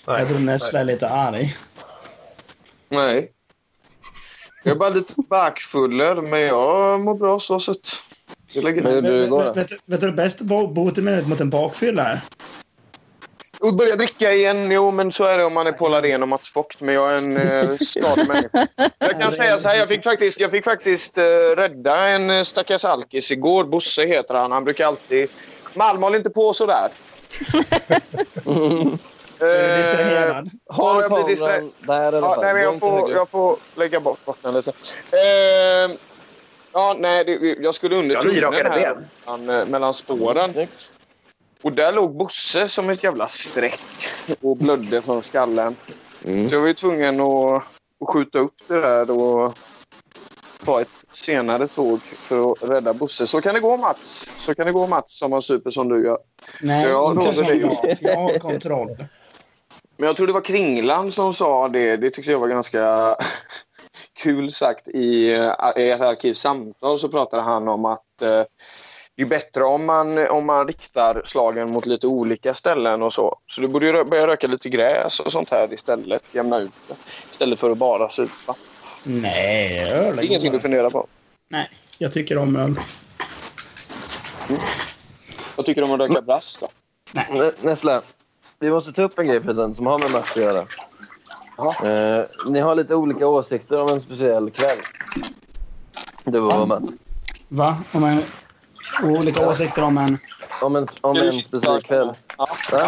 S3: jag tror Nessla är lite arg.
S5: Nej. Jag är bara lite bakfuller men jag mår bra så sett. Det lägger
S2: Men
S3: Vet,
S2: du
S3: vet,
S2: igår
S3: vet,
S2: då?
S3: vet, vet du, bästa bo- botemedlet mot en bakfylla är?
S5: Och börja dricka igen. Jo, men så är det om man är Paul Arén och Mats Vogt. Men jag är en eh, stadig människa. Jag kan säga så här. Jag fick faktiskt, jag fick faktiskt eh, rädda en eh, stackars alkis igår. Bosse heter han. Han brukar alltid... Malm, håll inte på så där. Eh,
S3: Är du distraherad?
S5: Ja,
S2: Håll
S5: jag blir distraherad.
S2: kameran där i alla
S5: Ja,
S2: fall.
S5: nej, men
S2: Gå
S5: jag,
S2: inte
S5: får,
S2: högre upp.
S5: jag får lägga bort botten lite. Ehm, ja, nej, det, jag skulle under
S7: Jag har nyrakade
S5: tunneln här
S7: ben.
S5: mellan, eh, mellan spåren.
S2: Snyggt.
S5: Och där låg Bosse som ett jävla streck och blödde från skallen. Så jag var ju tvungen att, att skjuta upp det där och ta ett senare tåg för att rädda Bosse. Så kan det gå Mats. Så kan det gå Mats som har super som du gör.
S3: Nej,
S5: Ja,
S3: inte
S5: då, så
S3: som
S5: det-
S3: jag. Jag har kontroll.
S5: Men jag tror det var Kringlan som sa det. Det tyckte jag var ganska kul sagt. I, eh, i ett arkivsamtal så pratade han om att eh, det är bättre om man, om man riktar slagen mot lite olika ställen och så. Så du borde ju rö- börja röka lite gräs och sånt här istället. Jämna ut det. Istället för att bara supa.
S3: Nej, öl
S5: Det är ingenting
S3: godare.
S5: du funderar på.
S3: Nej, jag tycker om öl.
S5: Vad tycker du om att röka brass då?
S2: N- Nessla, vi måste ta upp en grej förresten som har med match att göra. Eh, ni har lite olika åsikter om en speciell kväll. Du och Mats.
S3: Va? Om en, olika åsikter om en...
S2: Om en, om en speciell kväll.
S5: Ja.
S2: Va?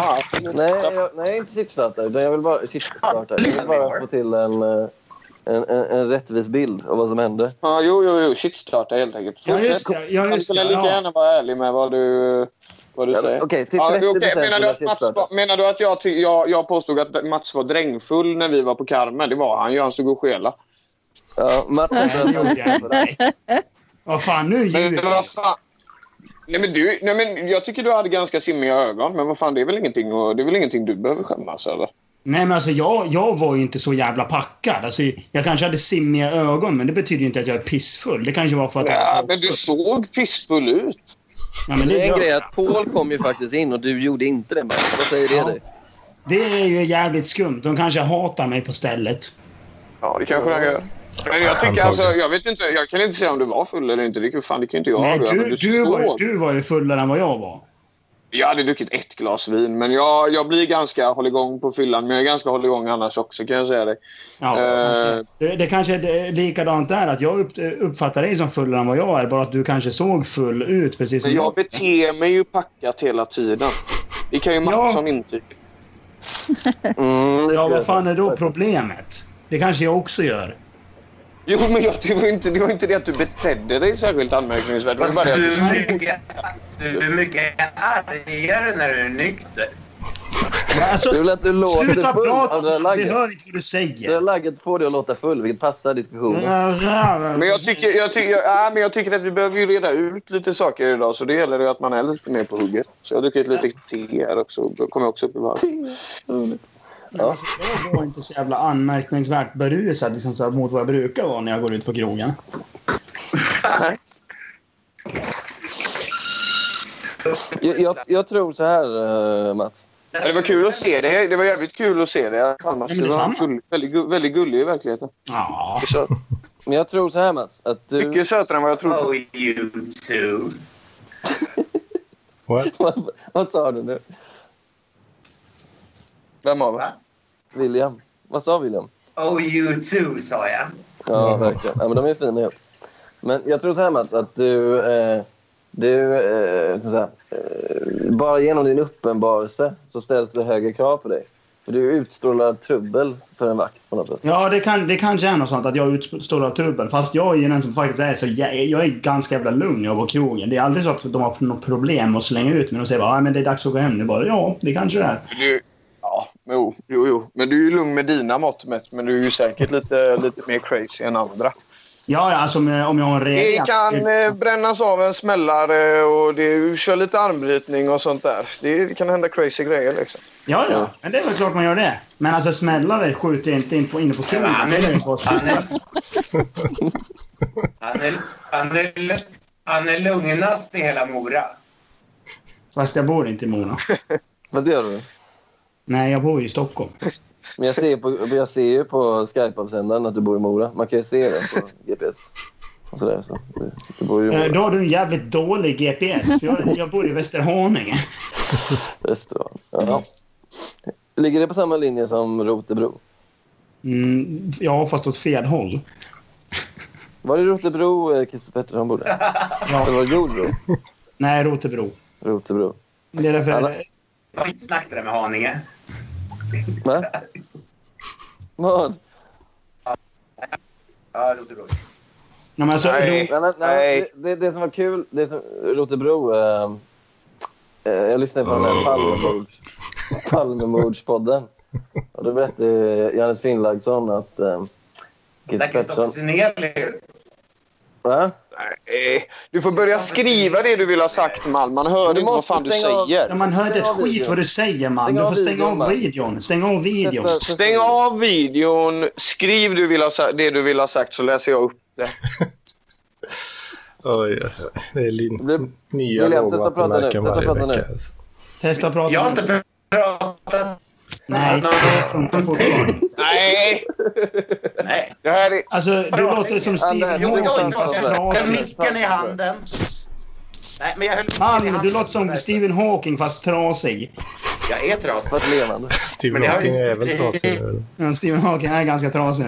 S5: Ja.
S2: Nej, jag, nej inte chipsstartare. utan Jag vill bara, chipsstartare. Jag vill bara få till en, eh, en, en, en rättvis bild av vad som hände.
S5: Ja, jo, jo, jo. Shitstarta helt enkelt.
S3: Ja, just det. Ja,
S5: Du
S3: just det.
S5: skulle lika
S3: Ja.
S5: gärna vara ärlig med vad du, vad du säger.
S2: Okej, till 30
S5: Ja, okej, Menar,
S2: vill jag
S5: du att Mats
S2: chipsstartare.
S5: var- menar du att jag, ty- jag, jag påstod att Mats var drängfull när vi var på Carmen? Det var han ju. Han stod och skelade.
S2: Ja, Mats
S3: Nej, det gjorde jag
S2: har
S3: inte. Nej. Vad fan, nu
S5: Men
S3: ljuger jag.
S5: vad fan? Nej, men du, nej, men jag tycker du hade ganska simmiga ögon. Men vad fan, det är väl ingenting, och, det är väl ingenting du behöver skämmas över?
S3: Nej, men alltså jag, jag var ju inte så jävla packad. Alltså, jag kanske hade simmiga ögon, men det betyder ju inte att jag är pissfull. Det kanske var för att...
S5: Ja, men du såg pissfull ut.
S3: Ja, men det,
S2: det är en
S3: gör
S2: grej
S3: jag.
S2: att Paul kom ju faktiskt in och du gjorde inte det. Mats. Vad säger det
S3: Ja.
S2: dig?
S3: det är ju jävligt skumt. De kanske hatar mig på stället.
S5: Ja, det kanske han gör. Men jag tycker
S1: Antagligen.
S5: alltså, jag vet inte, jag kan inte säga om du var full eller inte. Det kan, fan, det kan ju inte jag
S3: Nej,
S5: avgöra, men
S3: du, du,
S5: såg.
S3: var, ju- du var ju fullare än vad jag var.
S5: Jag hade druckit ett glas vin, men jag, jag blir ganska hålligång på fyllan. Men jag är ganska hålligång annars också kan jag säga det.
S3: Ja,
S5: Eh.
S3: kanske. det, det kanske är likadant där, att jag upp, eh, uppfattar dig som fullare än vad jag är, bara att du kanske såg full ut precis som
S5: Men jag beter mig ju packat hela tiden. Det kan ju Mattsson intyga.
S2: Mm, det
S3: Ja,
S2: skulle
S3: vad
S2: jag
S3: fan
S2: säga.
S3: är då problemet? Det kanske jag också gör.
S5: Jo, men jag, det, var inte, det var inte det att du betedde dig särskilt anmärkningsvärt. Det var bara det att
S7: du
S5: du
S7: är mycket, du är mycket argare när du är nykter.
S3: Alltså,
S2: Det är väl att du låter
S3: sluta
S2: full,
S3: prata!
S2: andra
S3: Vi
S2: lagget.
S3: hör inte vad du
S2: Det
S3: säger.
S2: här lagget får dig att låta full, vilket passar diskussionen.
S5: Men jag tycker, jag, tycker, jag, nej, men jag tycker att vi behöver ju reda ut lite saker idag så det gäller ju att man är lite mer på hugget. Så jag har druckit lite te här också. Då kommer jag också upp i varv.
S3: Men alltså, jag var inte så jävla anmärkningsvärt berusad liksom, så här, mot vad jag brukar vara när jag går ut på krogen.
S2: Jag, jag, jag tror så här, eh, Mats.
S5: Ja, Det var kul att se dig. Det var jävligt kul att se dig. Fan, Mats,
S3: Ja,
S5: du
S3: men
S5: var
S3: detsamma.
S5: gull, väldigt, gu- väldigt gullig i verkligheten.
S3: Ja.
S5: Så,
S2: Men jag tror så här, Mats. Att du...
S5: mycket sötare än vad jag trodde.
S7: Oh, you too.
S1: What?
S2: vad, vad sa du nu?
S5: Vem av oss?
S7: Va?
S2: William? Vad sa William?
S7: Oh, you too, sa jag.
S2: Ja, verkligen. Ja, men de är fina ihop. Men jag tror så här, Mats, att du... Eh, du eh, så här, eh, bara genom din uppenbarelse så ställs det högre krav på dig. För du utstrålar trubbel för en vakt på något sätt.
S3: Ja, det, kan, det kanske är något sånt att jag utstrålar trubbel. Fast jag är ju den som faktiskt är så jä- jag är ganska jävla lugn när jag går på krogen. Det är aldrig så att de har något problem att slänga ut mig och säger bara "Ah, men det är dags att gå hem nu. Bara, ja, det kanske det är.
S5: Du, ja, jo, jo, jo. Men du är ju lugn med dina mått mätt, men du är ju säkert lite, lite mer crazy än andra.
S3: Ja, ja, alltså om jag, om jag har en
S5: Det
S3: rea.
S5: kan eh, brännas av en smällare och det, du kör lite armbrytning och sånt där. Det kan hända crazy grejer liksom.
S3: Ja, ja. Men det är väl klart man gör det. Men alltså smällare skjuter inte in på, inne på krogen.
S7: Ja, men-
S3: Det är ju inte vad som-
S7: Han är, han är, han är, han är lugnast i hela Mora.
S3: Fast jag bor inte i Mora.
S2: Vad gör du?
S3: Nej, jag bor ju i Stockholm.
S2: Men jag ser, på, jag ser ju på Skype-avsändaren att du bor i Mora. Man kan ju se det på GPS. Och sådär, så. du, du bor ju i
S3: Eh,
S2: Mora.
S3: Då har du en jävligt dålig GPS. För jag, jag bor i Västerhaninge.
S2: Västerhav. Ja. Ligger det på samma linje som Rotebro?
S3: Mm, ja, fast åt fel håll.
S2: Var det Rotebro eh, Christer Pettersson bodde? Eller
S3: Ja,
S2: var det Jordbro?
S3: nej, Rotebro.
S2: Rotebro.
S3: Det är därför...
S2: Alla-
S7: Skitsnack det där med Haninge.
S2: Va? Vad?
S7: Ja, det låter roligt.
S3: Nej, men alltså,
S5: Nej.
S3: Ro-
S2: Nej, nej, nej.
S5: Nej.
S2: Det, det, det som var kul, det som, Rotebro... Eh, eh, jag lyssnade på den här Palmemords, Palmemordspodden. Och då berättade Johannes Finnlaugsson att... Eh,
S7: Där
S2: Christer
S7: Kristoffer
S2: Pettersson...
S7: Sinelius
S2: Va?
S5: Nej, eh, du får börja skriva det du vill ha sagt, Malm. Man hör
S2: Du
S5: inte vad
S2: måste
S5: fan du
S2: stänga av-
S5: säger.
S3: när man hör inte ett
S2: Stäng av
S3: skit
S2: videon.
S3: vad du säger, man.
S2: Stäng
S3: Du
S2: av
S3: får stänga
S2: videon,
S3: av
S2: man.
S3: videon. Stäng av videon.
S2: Testa-
S5: Stäng av videon. Skriv du vill ha, sa- det du vill ha sagt så läser jag upp det.
S1: Oj, oj, oj. det är lin-
S2: Det-
S1: nya
S2: William, testa prata nu.
S1: lågvattenmärken
S2: Testa
S1: varje
S2: prata nu.
S1: vecka. Alltså.
S3: Testa att prata.
S7: Jag har inte pratat.
S3: Nej, det funkar fortfarande.
S5: Nej!
S7: Nej.
S5: Det här är...
S3: Alltså, du låter som Stephen
S2: Jo, men jag
S3: Hawking
S2: pratar.
S3: fast
S7: Jag höll
S3: trasig.
S7: micken i handen. Nej, men jag höll micken i
S3: Malm,
S7: handen.
S3: du låter som Stephen Hawking fast trasig.
S7: Jag är trasig.
S2: Fast levande.
S1: Stephen
S7: Men det har
S1: Hawking
S7: ju-
S1: är väl trasig nu?
S3: Ja, Stephen Hawking är ganska trasig.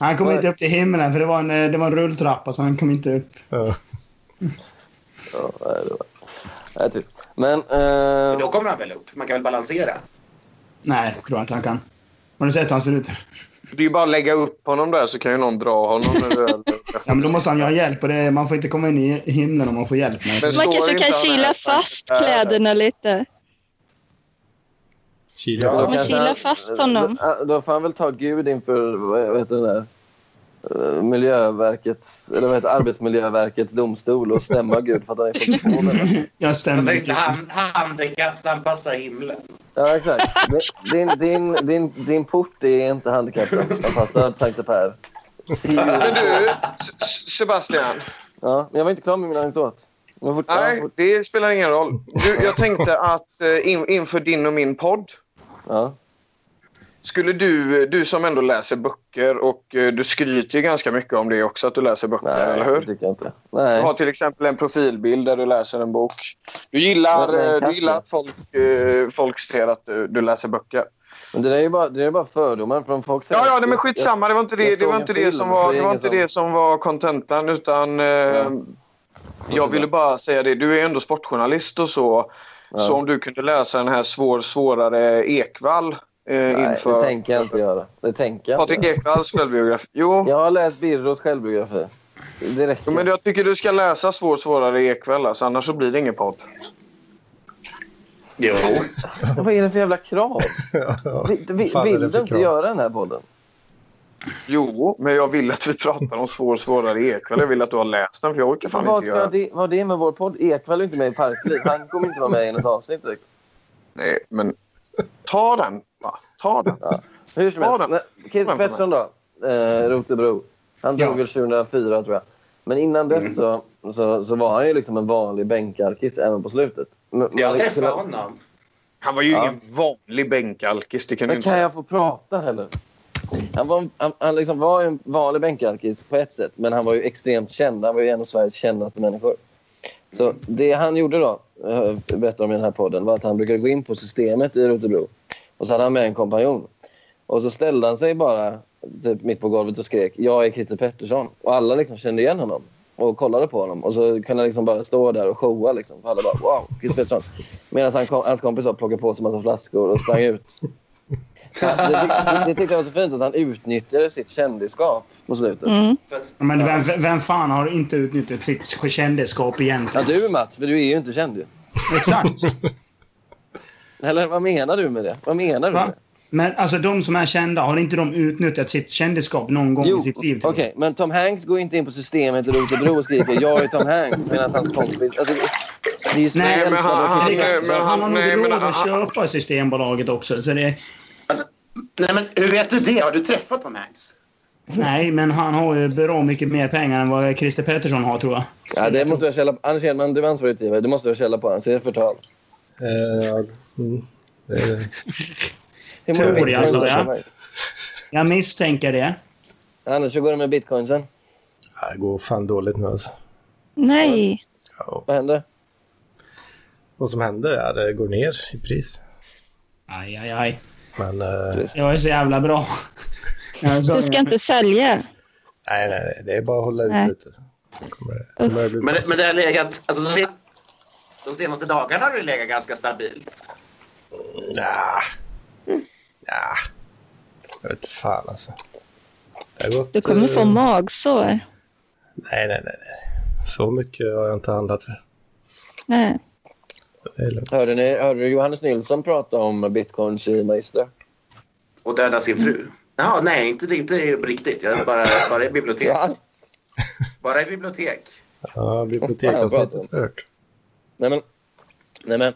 S3: Han kom inte upp till himlen för det var en, eh, det var en rulltrappa så han kom inte upp.
S1: Ja.
S2: Ja, nej, det var... Nej, tyst. Men... Eh,
S7: Då kommer han väl upp. Man kan väl balansera.
S3: Nej, jag tror inte han kan. Har du sett hur han ser ut?
S5: Det är ju bara att lägga upp honom där så kan ju någon dra honom. nu.
S3: Ja, men då måste han ju ha hjälp och det, man får inte komma in i himlen om man får hjälp. Men,
S5: Men-
S6: Man
S5: Förstår
S6: kanske
S5: inte
S6: kan
S5: han
S6: kila
S5: här.
S6: fast kläderna lite.
S1: Chile.
S2: då
S6: men
S2: kanske
S6: kila
S2: han-
S6: fast honom.
S2: Då, då får han väl ta Gud inför vad heter det där, eh, Miljöverkets, eller vad heter det, Arbetsmiljöverkets domstol och stämma Gud för att han är för
S3: jag
S7: Man
S3: stämmer
S7: behöver inte
S3: inte.
S7: hand- handikappsanpassa himlen.
S2: Ja, exakt. Din, din, din, din port är inte handikappanpassad, Sankte Per.
S5: Men du, S- S- Sebastian.
S2: Ja, men jag var inte klar med min anekdot. Men fort,
S5: Nej,
S2: ja, fort,
S5: det spelar ingen roll. Du, jag tänkte att eh, in, inför din och min podd
S2: ja.
S5: Skulle du, eh, du som ändå läser böcker och eh, du skryter ju ganska mycket om det också, att du läser böcker,
S2: Nej,
S5: eller hur?
S2: det tycker jag inte.
S5: Du
S2: Nej.
S5: har till exempel en profilbild där du läser en bok. Du gillar,
S2: Men, men,
S5: eh, du
S2: kanske.
S5: gillar att folk, eh, folk ser att du, du läser böcker.
S2: Men det där är ju bara, det där är bara fördomar från folk.
S5: Ja, ja, nej, men
S2: Jag-
S5: skitsamma. Det var inte det,
S2: jag
S5: det, var
S2: såg
S5: inte
S2: en
S5: det
S2: film,
S5: som var,
S2: så det
S5: det
S2: är
S5: var
S2: inget
S5: inte det som var kontentan, utan... Eh, Jag ville bara säga det. Du är ändå sportjournalist och så.
S2: Ja.
S5: Så om du kunde läsa den här svår, svårare Ekvall eh,
S2: Nej, det
S5: inför...
S2: tänker jag inte göra. Det tänker jag
S5: Patrik
S2: inte.
S5: Ekvalls självbiografi. Jo,
S2: Jag har läst Birros självbiografi. Det räcker.
S5: jo, men jag tycker du ska läsa svår, svårare Ekvall. Alltså, annars så blir det ingen podd.
S3: Jo.
S2: Vad är det för jävla krav?
S1: Ja,
S2: Vi, vi,
S1: Fan, är det
S2: vill
S1: för
S2: du inte
S1: krav?
S2: göra den här podden?
S5: Jo, men jag vill att vi pratar om svår, svårare Ekvall. Jag vill att du har läst den, för jag orkar fan
S2: Vad
S5: inte
S2: ska
S5: göra det.
S2: det, vad det är med vår podd? Ekwall är inte med i Parkliv. Han kommer inte vara med i något avsnitt. direkt.
S5: Nej, men ta den. Va? Ta den.
S2: Hur som
S5: Ja,
S2: helst.
S5: då.
S2: Nej, Kit
S5: Vem
S2: Pettersson då, eh, Rotebro. Han
S3: Ja.
S2: dog väl 2004 tror jag. Men innan dess så, så, så var han ju liksom en vanlig bänkarkis även på slutet. Men,
S8: Jag
S2: man- liksom
S8: träffade honom.
S5: Han var ju
S2: Ja.
S5: ingen vanlig bänkalkis. Det kan du
S2: Men kan
S5: inte...
S2: jag få prata eller? Han var, han, han liksom var ju en vanlig bänkalkis på ett sätt, men han var ju extremt känd. Han var ju en av Sveriges kändaste människor. Så det han gjorde då, eh, berättar om i den här podden, var att han brukade gå in på systemet i Rotebro. Och så hade han med en kompanjon. Och så ställde han sig bara typ, mitt på golvet och skrek “Jag är Christer Pettersson”. Och alla liksom kände igen honom och kollade på honom. Och så kunde han liksom bara stå där och showa. Liksom. För alla bara “Wow, Christer Pettersson”. Medan han kom, hans kompisar plockade på sig massa flaskor och sprang ut. Ja, det, det, det tyckte jag var så fint att han utnyttjade sitt kändisskap på slutet.
S6: Mm.
S8: Fast-
S3: Men vem, vem fan har inte utnyttjat sitt kändisskap
S2: Ja,
S3: egentligen?
S2: du Mats, för du är ju inte känd ju.
S3: Exakt.
S2: Eller vad menar du med det? Vad menar du?
S3: Va?
S2: Med det?
S3: Men alltså de som är kända, har inte de utnyttjat sitt kändisskap någon gång i sitt liv? typ.
S2: okej, men Tom Hanks går inte in på systemet i Rotebro och skriker “Jag är Tom Hanks” medan hans kompis... Alltså, det, det är ju så
S3: Nej,
S2: jävla-
S5: men han- han-
S3: Rickard,
S5: men
S3: han har nog
S5: nej, men
S3: råd att
S5: han-
S3: köpa Systembolaget också. Så det,
S7: Alltså, nej, men hur vet du det? Har du träffat Tom Hanks?
S3: nej, men han har ju bra mycket mer pengar än vad Christer Pettersson har, tror jag.
S2: ja, det måste jag källa på. Anders Hedman, du är ansvarig utgivare. Du måste jag källa på honom, så det är förtal.
S1: Eh, ja, mm. Eh,
S2: Hur
S3: Tror
S2: bitcoin
S3: det, alltså,
S2: har du
S3: ja.
S2: köpt?
S3: Jag misstänker det.
S2: Anders, hur går det med bitcoinsen?
S1: det går fan dåligt nu alltså.
S6: Nej.
S2: Vad händer?
S1: Vad som händer är att det går ner i pris.
S3: Aj, aj, aj.
S1: Men eh,
S3: Jag är så jävla bra. Jag sa
S6: Du ska
S3: det.
S6: inte sälja.
S1: nej, nej, nej, det är bara att hålla ut
S6: Nej.
S1: lite. Kommer det, kommer det bli
S7: Men,
S1: bra.
S7: men det har legat... Alltså, det, de senaste dagarna har det legat ganska stabilt.
S1: Nja. Nja. Jag vet inte fan alltså. Det har gått,
S6: Du kommer få
S1: eh,
S6: magsår.
S1: Nej, nej, nej. nej. Så mycket har jag inte handlat för.
S6: Nej.
S1: Det är lugnt.
S2: Hörde, ni, hörde du Johannes Nilsson prata om bitcoins i Magister?
S7: Och döda sin fru. Jaha, nej, inte, inte på riktigt. Jag är bara, bara i bibliotek.
S2: Ja.
S7: Bara i bibliotek.
S1: Ja,
S2: Fan,
S1: biblioteksavsnittet har jag hört.
S2: Nej, men... Nej, men.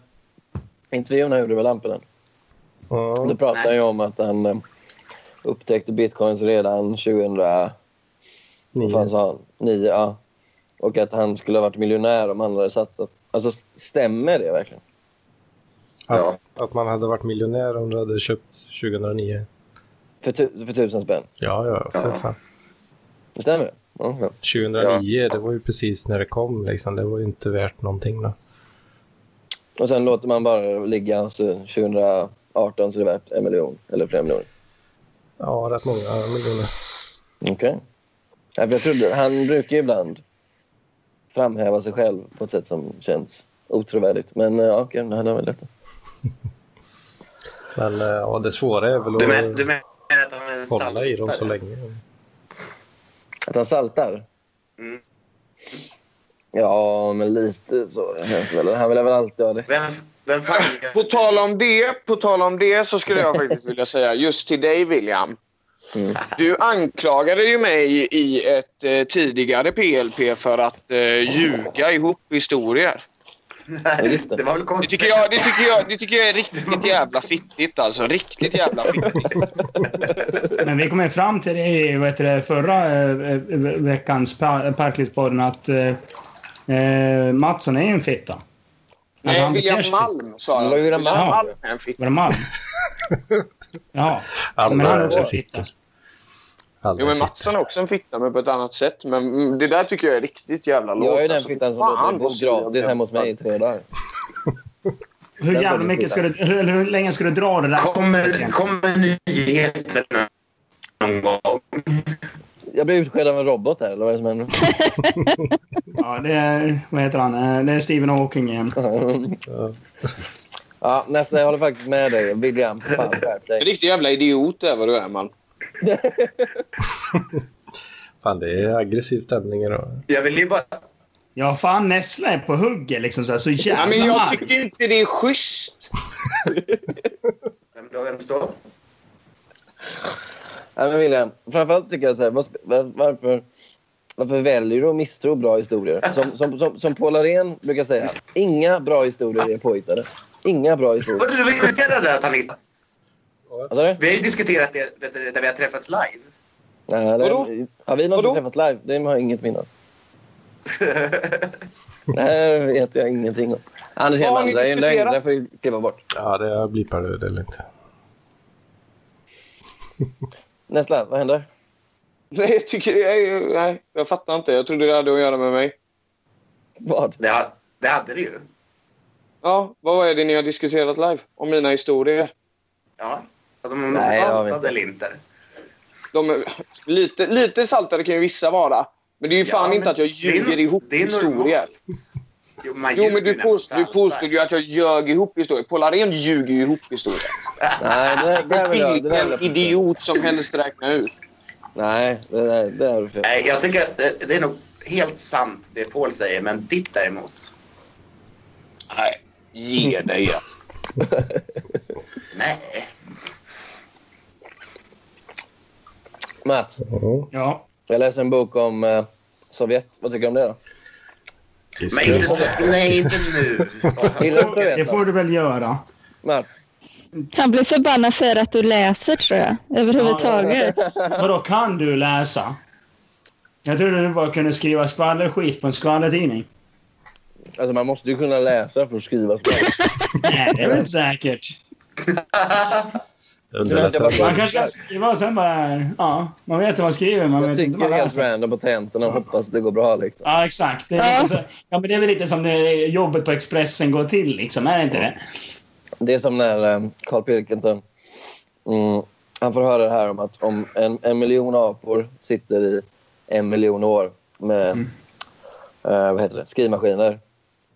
S2: Intervjun han gjorde med Lampinen.
S1: Ja.
S2: Då pratade han ju om att han eh, upptäckte bitcoins redan 2009.
S1: Nio.
S2: Ja. Och att han skulle ha varit miljonär om han hade satsat. Alltså, s- stämmer det verkligen?
S1: Att, att man hade varit miljonär om du hade köpt 2009.
S2: För, tu- för tusen spänn?
S1: Ja, ja, för fan.
S2: Det Stämmer det? Ja, ja.
S1: 2009, det var ju precis när det kom liksom. Det var ju inte värt någonting då.
S2: Och sen låter man bara ligga. och Så 2018 så är det värt en miljon eller flera miljoner.
S1: Ja, rätt många miljoner.
S2: Okej. Ja, för jag trodde, han brukar ju ibland framhäva sig själv på ett sätt som känns otrovärdigt. Men eh, ja, okej, okay, han har väl rätt.
S1: Men eh, ja, det svåra är väl att
S7: Du, men, du menar att han är en
S1: hålla i dem så
S7: saltare?
S1: länge.
S2: Att han saltar?
S7: Mm.
S2: Ja, men lite så känns det väl. Han vill väl alltid ha det.
S7: Vem, vem fan...
S5: På tal om det, på tal om det så skulle jag faktiskt vilja säga just till dig William.
S2: Mm.
S5: Du anklagade ju mig i ett eh, tidigare PLP för att eh, ljuga ihop historier.
S2: Ja, just det.
S7: Det var väl
S5: Det
S7: konstigt.
S5: tycker jag, det tycker jag, det tycker jag är riktigt jävla fittigt alltså. Riktigt jävla fittigt.
S3: Men vi kom ju fram till det i vad heter det, förra eh, eh, veckans par- Parklivspodden att eh, eh, Mattsson är en fitta. Att
S5: Nej,
S3: han beter
S5: William
S3: sig-
S5: Malm sa jag.
S2: William Malm.
S5: är en fitta.
S3: Var det Malm? Ja,
S1: Alla
S3: men han är också en
S1: är-
S3: fitta.
S1: alla
S5: Jo,
S1: är
S5: men
S1: fitta.
S5: Mattsson är också en fitta, men på ett annat sätt. Men mm, det där tycker jag är riktigt jävla lågt.
S2: Jag är den
S5: alltså.
S2: fittan som
S5: Fan,
S2: låter
S5: vad
S2: bo
S5: sur jag
S2: gratis
S5: blev.
S2: hemma hos mig i tre dagar.
S3: Hur
S2: Den var
S3: jävla
S2: min
S3: mycket
S2: fitta.
S3: ska du, hur, hur länge ska du dra det där?
S4: Kommer, kommer nyheterna någon gång?
S2: Jag blev utskedd av en robot här, eller vad är det som händer?
S3: Ja, det är, vad heter han? Eh, Det är Stephen Hawking igen.
S2: ja, nästa, jag håller faktiskt med dig. William, fan skärp
S5: En
S2: dig.
S5: riktig jävla idiot är vad du är, man.
S1: Fan, det är aggressiv stämning idag.
S4: Jag vill ju bara...
S3: Ja, fan Nessla är på hugget liksom. Så, här, så
S5: Ja, men
S3: jävla
S5: jag
S3: arg.
S5: tycker inte det är schysst.
S4: Vem då? Vem då?
S2: Nej, men William, framförallt tycker jag så här, vad sp- var, varför, varför väljer du att misstro bra historier? Som, som, som, som Paul Arén brukar säga, inga bra historier är påhittade. Inga bra historier.
S7: Var du irriterad att han inte...
S2: Vad sa du?
S7: Vi har ju diskuterat det vet du, där vi har träffats live.
S2: Nej, det,
S5: Vadå?
S2: Har vi någonsin
S5: Vadå?
S2: träffats live? Det har jag inget minne av. Nej, det vet jag ingenting om. Anders
S5: Vad har ni
S2: Hedman, det är en lögn.
S5: diskuterat?
S2: Det får vi klippa bort.
S1: Ja, det blipar du det lite.
S2: Nästa, vad händer?
S5: Nej, jag tycker... Jag, nej, jag fattar inte. Jag trodde det hade att göra med mig.
S2: Vad?
S7: Det, ha- det hade du ju.
S5: Ja, vad är det ni har diskuterat live? Om mina historier?
S7: Ja. Att
S2: Nej,
S7: de
S2: det har vi
S7: saltade eller inte.
S5: De är, lite, lite saltare kan ju vissa vara. Men det är ju
S7: Ja,
S5: fan
S7: men
S5: inte att jag
S7: det är no-
S5: ljuger ihop
S7: det är
S5: historier.
S7: normalt. Jo, man
S5: Jo,
S7: ljuger
S5: men du,
S7: när man
S5: påst, du
S7: saltar.
S5: påstod ju att jag ljög ihop historier. Paul Arén ljuger ju ihop historier.
S2: Nej, det där, det där vill jag... Det där vill
S5: Vilken
S2: jag
S5: idiot som helst räknar ut.
S2: Nej, det där, det där har du fel.
S7: Nej, jag tycker att det, det är nog helt sant det Paul säger, men ditt däremot.
S5: Nej, ge dig. ja.
S7: Nej.
S2: Mats,
S1: Mm.
S3: Ja.
S2: jag läser en bok om eh, Sovjet. Vad tycker du om det då?
S1: Det är
S7: Men
S1: skräp.
S7: inte, nej, inte nu.
S2: Gillar du Sovjet?
S3: Det får du väl göra.
S2: Mats,
S6: Han blir förbannad för att du läser, tror jag. Överhuvudtaget.
S3: Vadå, kan du läsa? Jag trodde du bara kunde skriva skvallerskit på en skvallertidning.
S2: alltså man måste ju kunna läsa för att skriva spel.
S3: Nej, det är väl inte säkert.
S1: Underlättar.
S3: Man kanske kan skriva och sen bara... Ja, man vet hur man skriver, man
S2: Jag
S3: vet inte hur
S2: tycker
S3: man
S2: helt
S3: läser.
S2: random på tentorna och hoppas att det går bra liksom.
S3: Ja, exakt. Det är, lite så, ja, men det är väl lite som det jobbet på Expressen går till, liksom. Är det inte det?
S2: Det är som när eh, Carl Pilkington... Mm, han får höra det här om att om en, en miljon apor sitter i en miljon år med eh, vad heter det? skrivmaskiner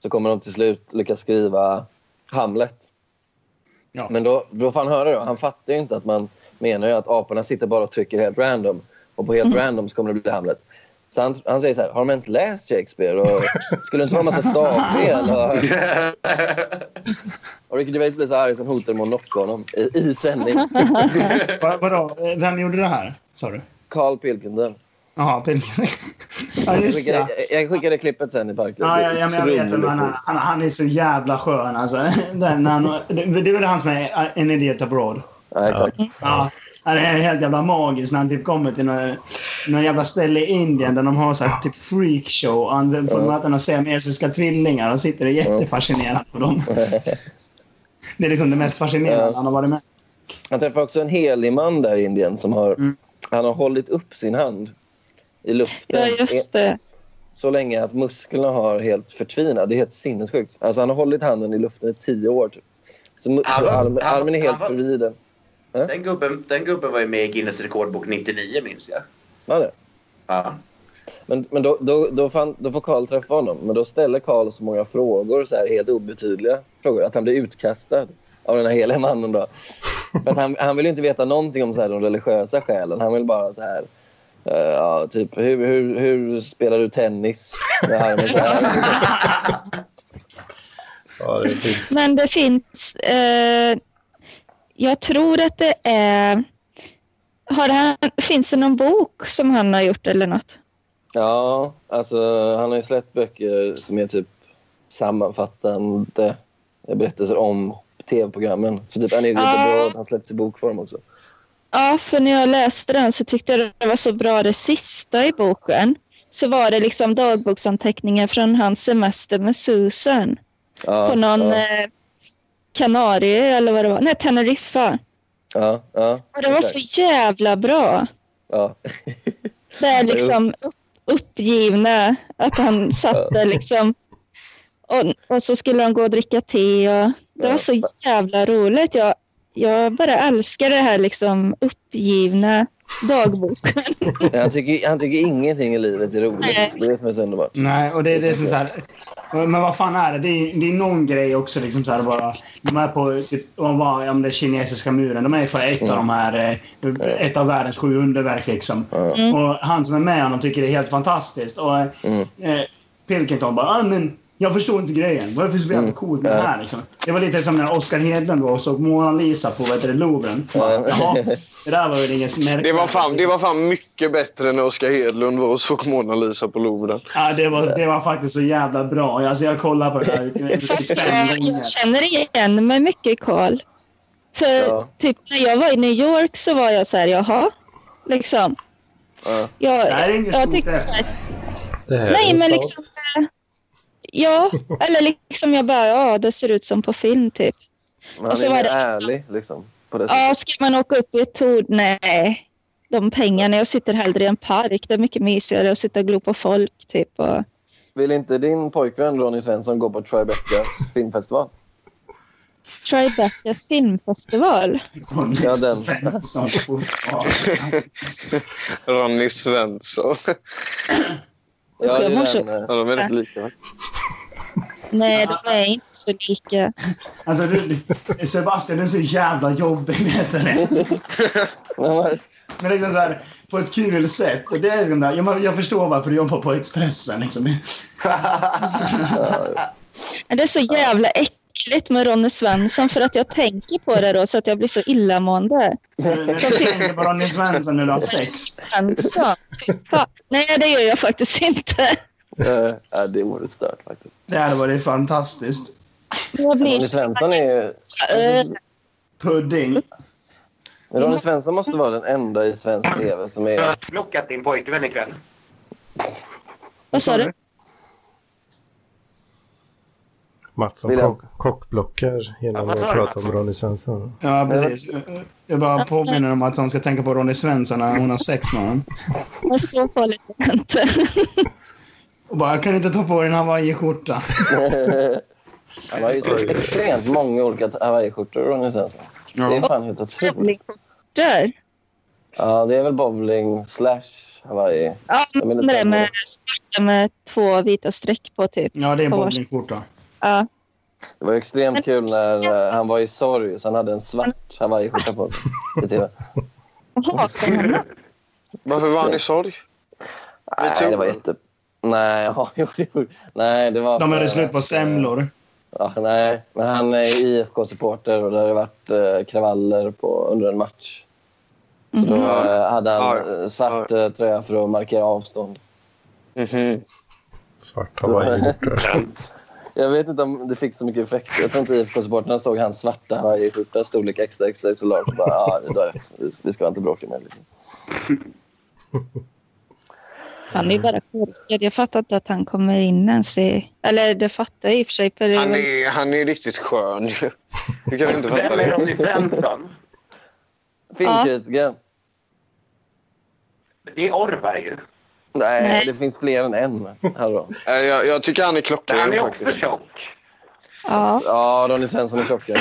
S2: så kommer de till slut lyckas skriva Hamlet.
S3: Ja.
S2: Men då, då får han höra det. Han fattar ju inte att man menar ju att aporna sitter bara och trycker helt random. Och på helt random så kommer det bli Hamlet. Så han, han säger så här, har de ens läst Shakespeare? Och skulle det inte vara en massa stavfel? Och, och Ricky Gervais blir så arg så han hotar med att knocka honom i, i sändning.
S3: Vad- Vadå? Vem gjorde det här, sa du?
S2: Carl Pilkington.
S3: Jaha, Pelle. Ja,
S2: Jag
S3: just det.
S2: skickade, jag, jag skickade klippet sen i Parklid.
S3: Ja,
S2: Det
S3: ja,
S2: är
S3: ja, men jag vet vem
S2: otroligt
S3: han är.
S2: roligt.
S3: Han, han är så jävla skön alltså. Den, han, det, det är väl han som är en idiot abroad.
S2: Ja, exakt.
S3: Ja. ja, Det är helt jävla magiskt när han typ kommer till någon, någon jävla ställe i Indien där de har så här typ freakshow. och Han får
S2: Ja.
S3: möta några siamesiska tvillingar och sitter och är jättefascinerad på dem. Det är liksom det mest fascinerande
S2: Ja.
S3: han har varit med
S2: Han träffar också en helig man där i Indien som har,
S3: Mm.
S2: han har hållit upp sin hand i luften
S6: Ja, just det.
S2: så länge att musklerna har helt förtvinat. Det är helt sinnessjukt. Alltså, han har hållit handen i luften i tio år. Typ. Så mu-
S7: Han var-
S2: armen,
S7: han var-
S2: armen är helt
S7: han var-
S2: förvriden.
S7: Den gubben, den gubben var ju med i Guinness rekordbok 99, minns jag.
S2: Man är.
S7: Ja.
S2: Men, men då, då, då, fan, då får Karl träffa honom. Men då ställer Karl så många frågor, så här, helt obetydliga frågor, att han blir utkastad av den här heliga mannen. Då. För att han, han vill ju inte veta någonting om så här, de religiösa skälen. Han vill bara så här... eh, ja, typ, hur, hur, hur spelar du tennis? Med armen så här.
S1: Ja, det är fint.
S6: Men det finns... Eh, jag tror att det är... Har han, finns det någon bok som han har gjort eller något?
S2: Ja, alltså han har ju släppt böcker som är typ sammanfattande berättelser om tv-programmen. Så typ han är ju lite
S6: Ah.
S2: bra att han släpps i bokform också.
S6: Ja, för när jag läste den så tyckte jag det var så bra det sista i boken. Så var det liksom dagboksanteckningar från hans semester med Susan.
S2: Ja,
S6: på någon
S2: ja.
S6: eh, Kanarie eller vad det var. Nej, Teneriffa.
S2: Ja, ja,
S6: Och den var så jävla bra.
S2: ja.
S6: Det är liksom upp- uppgivna. Att han satte liksom... Och, och så skulle de gå och dricka te. Och det var så jävla roligt. Jag, jag bara älskar det här liksom uppgivna dagboken.
S2: Han, tycker, han tycker ingenting i livet är roligt.
S6: Nej. Mm.
S2: Det är det som är så underbart.
S3: Nej, och det är det som så här... Men vad fan är det? Det är, det är någon grej också liksom så här bara... De är på, typ, om vad- om det är kinesiska muren, de är på ett av de här... eh, Ett av världens sju underverk liksom.
S6: Mm.
S2: Mm.
S3: Och han som är med honom tycker det är helt fantastiskt. Och eh, eh, Pilkington bara, ah, men jag förstår inte grejen. Vad är det för
S2: Mm.
S3: jävla coolt med det här liksom? Det var lite som när Oskar Hedlund var och såg Mona Lisa på vad heter det, Louvren.
S2: Ja.
S3: Jaha, det där var väl inget
S5: Det var, fan, det var fan mycket bättre när Oskar Hedlund var och såg Mona Lisa på Louvren.
S3: Ja, det var, det var faktiskt så jävla bra. Alltså, jag kollar på det där i- i
S6: Fast eh,
S3: fem
S6: jag,
S3: gånger.
S6: jag känner igen mig mycket i Karl. För
S2: Ja.
S6: typ när jag var i New York så var jag så här, jaha. Liksom.
S2: Ja.
S6: Jag,
S3: Det här är inget
S6: jag
S3: stort
S6: tyckte så här,
S3: ämne.
S1: Det här är
S6: Nej,
S1: en
S6: men
S1: stad.
S6: liksom... eh, Ja, eller liksom jag bara, ja, det ser ut som på film typ.
S2: Men han
S6: Och så
S2: är
S6: var
S2: mer
S6: det-
S2: ärlig liksom. På det sättet.
S6: Ja, ska man åka upp i ett torn? Nej. De pengarna, jag sitter hellre i en park. Det är mycket mysigare att sitta och glo på folk typ. Och...
S2: Vill inte din pojkvän Ronny Svensson gå på Tribecas filmfestival?
S6: Tribeca filmfestival.
S3: Ronny
S2: Ja, den.
S3: Svensson fortfarande.
S5: Ronny Svensson.
S2: Ja, det
S6: jag mår
S2: är
S6: så-
S2: den, eh,
S5: Ja, de är inte lika. va?
S6: Nej, de är inte så lika.
S3: Alltså, du, Sebastian, du är så jävla jobbig, vet du det?
S2: men vad-
S3: Men liksom så här, på ett kul sätt. Och Det är den där, jag, jag förstår varför du jobbar på Expressen. Liksom.
S6: Men det är så jävla äckligt med Ronny Svensson för att jag tänker på det då så att jag blir så illamående.
S3: När du tänker på Ronny Svensson när du har sex.
S6: Svensson? Fy fan. Nej, det gör jag faktiskt inte.
S2: eh, ja, det är oerhört stört faktiskt.
S3: Det hade varit fantastiskt.
S6: Jag blir
S2: Ronny
S6: så...
S2: Svensson är ju...
S6: Eh,
S3: Pudding.
S2: Ronny Svensson måste vara den enda i svensk tv som
S7: Jag
S2: är...
S7: har plockat din pojkvän ikväll.
S6: Vad sa du?
S1: Mats som
S2: Vill jag-
S1: kock, kockblockar
S7: Ja,
S1: genom
S7: vad
S1: att
S7: sa du,
S1: prata
S7: Mats?
S1: om Ronny Svensson.
S3: Ja, precis. Jag bara påminner om att han ska tänka på Ronny Svensson när hon har sex med honom.
S6: Men så farligt är det inte.
S3: Och bara, jag kan inte ta på dig en hawaiiskjorta.
S2: Han har ju så extremt många olika hawaiiskjortor, Ronny Svensson. Det är fan helt otroligt.
S6: Där.
S2: Ja, det är väl bowling slash Hawaii.
S6: Ja,
S2: Jag menar,
S6: men det där
S2: den-
S6: med svarta med två vita streck på typ.
S3: Ja, det är en
S6: På
S3: bowlingskjorta.
S6: Ja.
S2: Det var extremt kul när eh, han var i sorg så han hade en svart hawaiiskjorta på sig. typ- i TV.
S6: Jag hatar honom.
S5: Varför var han i sorg?
S2: Nej, det var jätte... Nej, ja, jo, det var... Nej, det var...
S3: De hade slut på semlor.
S2: Ja, nej, men han är IFK-supporter och det har varit eh, kravaller på, under en match. Så då eh, hade han
S5: Mm. Ja.
S2: eh, svart eh, tröja för att markera avstånd.
S5: Mhm.
S1: Svart hawaiiskjortor.
S2: Jag vet inte om det fick så mycket effekt. Jag tror inte IFK-supporterna såg hans svarta hawaiiskjorta storlek extra extra extra large och bara ja, det där, vi- vi ska inte bråka med det, liksom.
S6: Han är ju bara korkad. Jag fattar inte att han kommer in ens i... Eller det fattar jag i och för sig. För det är
S5: Han,
S6: väl-
S5: är, han är riktigt skön. ju. Du kan inte fatta
S7: Vem är
S5: det.
S7: Ronny Svensson?
S2: Filmkritiker.
S7: Det är Orvar ju.
S2: Nej,
S6: Nej.
S2: det finns fler än en. Hallå.
S5: Äh, Jag, jag tycker han är
S7: Han
S5: klockren
S7: är också
S5: faktiskt.
S7: tjock.
S6: Ja.
S2: Ja, Ronny Svensson är tjockare.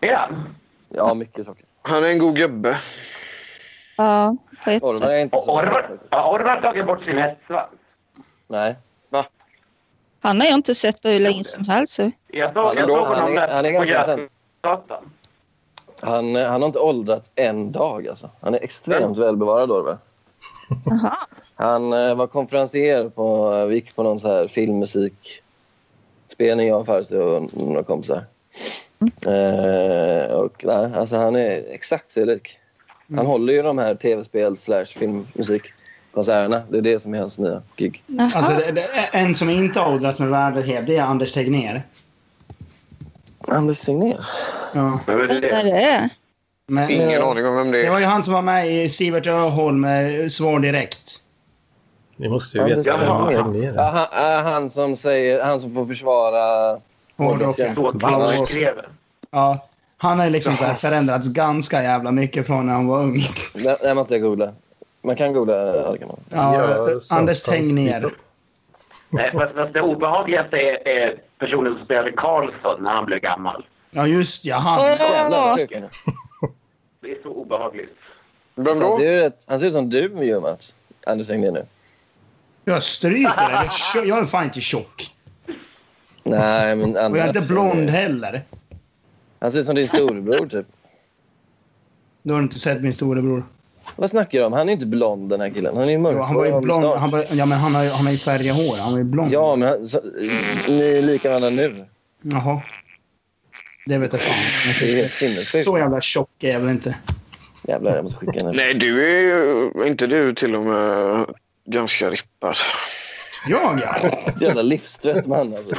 S7: Är han?
S2: Ja, mycket tjockare.
S5: Han är en god gubbe.
S6: Ja, på ett
S2: Orvar
S6: sätt.
S2: är inte
S7: Och
S2: så
S7: Orvar
S2: faktiskt.
S7: har Orvar tagit bort sin hästsvans.
S2: Nej.
S6: Han har jag inte sett på hur länge som helst. så-
S7: Jag
S2: Han
S7: såg
S2: är-
S7: jag såg
S2: han är-
S7: honom
S2: han är
S7: där på
S2: ganska sen.
S7: Götgatan.
S2: Han, eh, han har inte åldrats en dag. Alltså. Han är extremt välbevarad, Orvar.
S6: Jaha.
S2: Han eh, var konferencier på... eh, Vi gick på någon så här filmmusikspelning, jag och Farsi och några kompisar. Eh, och, nej, alltså, han är exakt så lik. Han håller ju de här tv-spel slash filmmusikkonserterna. Det är det som är hans nya gig.
S6: Jaha.
S3: Alltså, det, det, en som inte har åldrats med värdighet, det är Anders Tegnér.
S2: Anders Tegnér.
S3: Ja.
S7: Vem är
S6: Vad
S7: det?
S6: är det?
S3: Men, eh,
S5: Ingen aning om vem det
S3: Det
S5: är.
S3: var ju han som var med i Sivert Öholm med Svar direkt.
S1: Ni måste ju
S2: Anders
S1: veta vem
S7: Jaha.
S1: Tegnér
S2: Ja,
S1: är.
S2: han, ja, han, som säger, han som får försvara...
S3: Hårdrocken.
S7: Då
S3: Alltså,
S7: skrev
S3: Ja, Han har ju liksom så här förändrats ganska jävla mycket från när han var ung.
S2: Nej, nej, man ska googla. Man kan googla. Ja, det kan man.
S3: Ja,
S1: Gör så
S3: eh, Anders
S1: att han
S3: Tegnér.
S1: slipper.
S8: Nej, fast, fast det obehagligaste är, är personen som spelade Karlsson när han blev gammal.
S3: Ja, just ja. Han.
S2: Jävlar vad
S6: Åh,
S2: sjuk han är.
S8: Det är så obehagligt.
S5: Vem
S2: Han
S5: då?
S2: ser ju rätt- han ser ut som du ju Mats. Anders Tegnér nu.
S3: Jag stryker det. Jag är tjo- Jag är fan inte tjock.
S2: Nej, men
S3: Och
S2: Anders.
S3: jag är inte blond heller.
S2: Han ser ut som din storebror typ.
S3: Du har inte sett min storebror.
S2: Vad snackar du om? Han är inte blond den här killen. Han är ju mörk.
S3: Jo, Han var ju
S2: Och
S3: blond.
S2: mustasch.
S3: Han var, ja, men han har ju han har ju färgat hår. Han var ju blond.
S2: Ja, men han, så, ni är likadana nu.
S3: Jaha. Det vet jag fan.
S2: Det är helt sinnessjukt.
S3: Så jävla tjock är jag väl inte.
S2: Jävlar, jag måste skicka henne.
S5: Nej, du är ju... Inte du till och med ganska rippad.
S3: Jag ja.
S2: Jävla livstrött man alltså.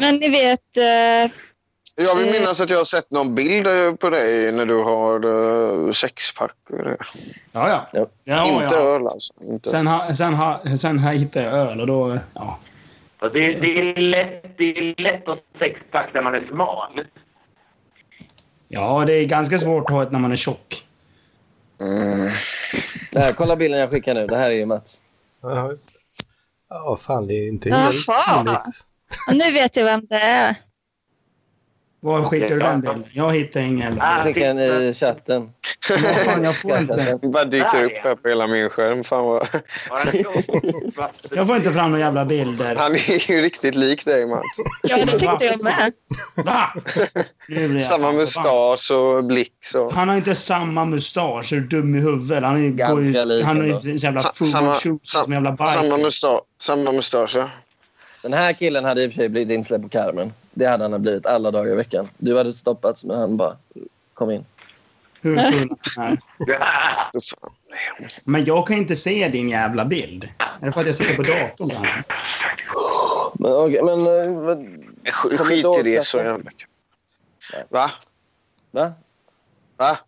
S6: Men ni vet, eh,
S5: Jag vill
S6: Mm.
S5: minnas att jag har sett någon bild eh, på dig när du har eh, sexpack. och det.
S3: Ja, ja.
S2: Ja.
S3: ja,
S5: inte
S3: ja.
S5: öl alltså. Inte.
S3: Sen, ha, sen, ha, sen här hittade jag öl och då... Ja.
S8: Och det, det, är lätt, det är lätt att ha sexpack när man är smal.
S3: ja, det är ganska svårt att ha ett när man är tjock.
S5: Mm.
S2: Det här, kolla bilden jag skickar nu. Det här är ju Mats.
S1: Ja, just det. Ja, fan det är inte
S6: Jaha.
S1: helt olikt.
S6: nu vet jag vem det är.
S3: Var skickar du
S5: Okej,
S3: den
S5: ja.
S3: bilden? Jag hittar ingen heller.
S8: Ah.
S2: Skicka den i chatten.
S3: Vad fan, jag får inte...
S5: Det bara dyker upp här på hela min skärm. Fan vad...
S8: Bara tjock, va?
S3: Jag får inte fram några jävla bilder.
S5: Han är ju riktigt lik dig, Mats.
S6: Ja, det tyckte jag med.
S3: Va? Nu blir jag
S5: Samma
S3: förbannad.
S5: mustasch och blick. Så.
S3: Han har inte samma mustasch. Är du dum i huvudet? Han, är, ju-
S2: Ganska
S3: går ju,
S2: lik
S3: han har ju
S2: ändå.
S3: en jävla
S5: Sa-
S3: full
S5: samma-
S3: samma, shoot
S5: sam-
S3: som jävla
S5: Samma,
S3: bike.
S5: musta samma mustasch, ja.
S2: Den här killen hade i och för sig blivit insläppt på Carmen. Det hade han blivit alla dagar i veckan. Du hade stoppats, men han bara kom in.
S3: Hur full han är.
S5: Då fan.
S3: Men jag kan inte se din jävla bild. Är det för att jag sitter på datorn kanske?
S2: Men, okej, men eh, vad-
S5: Sk-
S2: Kommer
S5: Skit
S2: inte
S5: i
S2: ihåg
S5: det
S2: träffen.
S5: så jävla kul. Va?
S2: va?
S5: Va?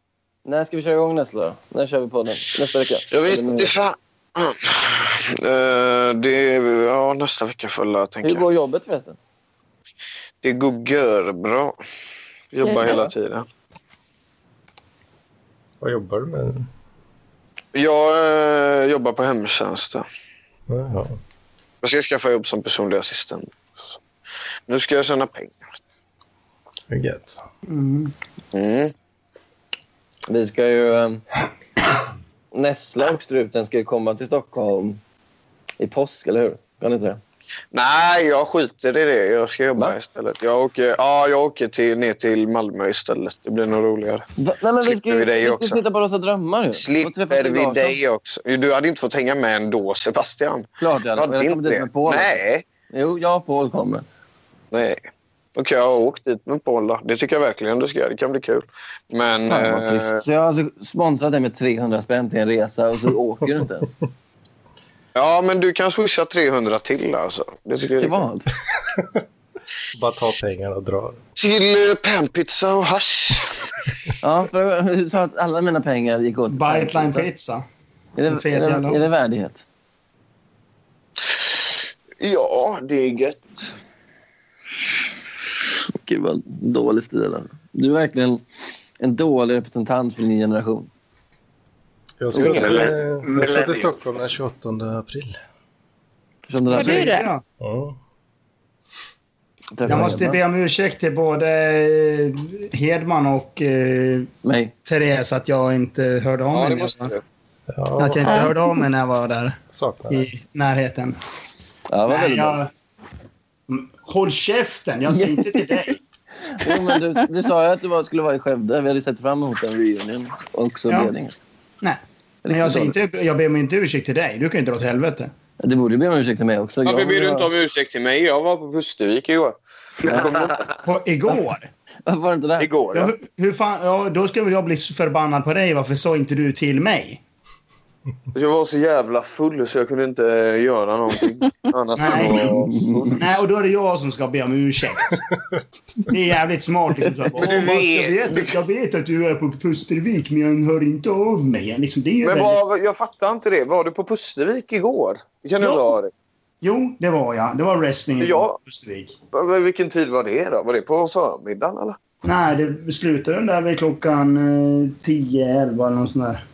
S2: När ska vi köra igång nästa då? När kör vi podden? Nästa vecka?
S5: Jag vet
S2: Eller nu?
S5: inte fan. Eh, det är, ja, nästa vecka får jag tänka.
S2: Hur går jobbet förresten?
S5: Det går görbra. Jobbar
S6: Görbra.
S5: hela tiden.
S1: Vad jobbar du med?
S5: Jag eh, jobbar på hemtjänsten.
S1: Jaha.
S5: Jag ska skaffa jobb som personlig assistent. Nu ska jag tjäna pengar.
S1: vad Gött.
S3: Mm.
S5: Mm.
S2: Vi ska ju... Eh, Nessla och Struten ska ju komma till Stockholm i påsk, eller hur? Kan ni inte det?
S5: Nej, jag skiter i det. Jag ska jobba
S2: Va?
S5: istället. Jag åker, ja, jag åker till, ner till Malmö istället. Det blir nog roligare.
S2: Va? Nej, men vi ska,
S5: Slipper vi
S2: ju,
S5: dig
S2: vi ska
S5: också?
S2: sitta bara och drömma ju. Och träffa
S5: Slipper
S2: Stig
S5: vi
S2: Larsson.
S5: dig också? Du hade inte fått hänga med ändå, Sebastian.
S2: Klart jag hade.
S5: Jag hade
S2: Jag
S5: inte
S2: kommer dit
S5: det.
S2: med Paul.
S5: Nej.
S2: Jo, jag och Paul kommer.
S5: Nej. Okej, jag har åkt dit med Paul då. Det tycker jag verkligen du ska göra. Det kan bli kul. Men...
S2: Fan vad
S5: eh,
S2: trist. Så jag har alltså sponsrat dig med 300 spänn till en resa och så åker du inte ens.
S5: ja, men du kan swisha 300 till alltså. Det tycker jag är
S2: Till
S5: kul.
S2: vad?
S1: Bara ta pengarna och dra.
S5: Till eh, panpizza och hasch.
S2: Ja, för du sa att alla mina pengar gick åt.
S3: Biteline pizza.
S2: Är det,
S3: Fet
S2: är,
S3: jävla-
S2: det, är det värdighet?
S5: Ja, det är gött.
S2: Gud vad dålig stil. alltså. Du är verkligen en dålig representant för din generation.
S1: Jag ska, till, eh,
S8: Millennium.
S1: jag ska till Stockholm den 28 april. Mm.
S2: Som alltså den
S6: Var du
S2: där
S6: det?
S3: Ja.
S1: Ja.
S2: träffen
S3: Jag måste
S2: hemma.
S3: be om ursäkt till både eh, Hedman och eh,
S2: Nej.
S3: Therese att jag inte hörde av
S5: Ja,
S3: mig.
S5: det
S3: när jag
S5: måste
S3: var-
S5: du.
S1: Ja,
S3: att jag inte
S6: fan.
S3: hörde av mig när jag var där
S1: saknar
S3: i
S1: dig.
S3: närheten.
S2: Ja, det var
S3: Nej,
S2: väldigt bra.
S3: jag... Mm, Håll käften! Jag säger inte till dig.
S2: Jo, men du, du sa ju att du var, skulle vara i Skövde. Vi hade sett fram emot en reunion. Och så
S3: Ja.
S2: blev det inget.
S3: Nej. Men jag, säger inte, jag ber mig inte ursäkt till dig. Du kan ju inte dra åt helvete.
S2: Du borde ju be om ursäkt till mig också.
S5: Varför
S2: Jag-
S5: ber du inte om ursäkt till mig? Jag var på Pustervik igår.
S3: På, igår?
S2: Varför var du inte där?
S5: Igår,
S3: Ja,
S5: ja.
S3: hur, hur fan, ja, då skulle väl jag bli förbannad på dig. Varför sa inte du till mig?
S5: Jag var så jävla full så jag kunde inte eh, göra någonting annat än
S3: Nej.
S5: att vara full.
S3: Nej, och då är det jag som ska be om ursäkt. Det är jävligt smart. Liksom, så här, bara,
S5: Men du
S3: "Åh, Mats, jag,
S5: vet-
S3: vet, att- jag vet att du är på Pustervik, men jag hör inte av mig. Liksom, det är ju
S5: Men
S3: väldigt...
S5: var, jag fattar inte det. Var du på Pustervik igår? Det kan du
S3: Ja.
S5: inte ha det.
S3: Jo, det var jag. Det var wrestling i
S5: Ja.
S3: Östervik.
S5: Vad- Vilken tid var det då? Var det på förmiddagen eller?
S3: Nej, det slutade den där vid klockan eh, 10, 11 eller något sånt där.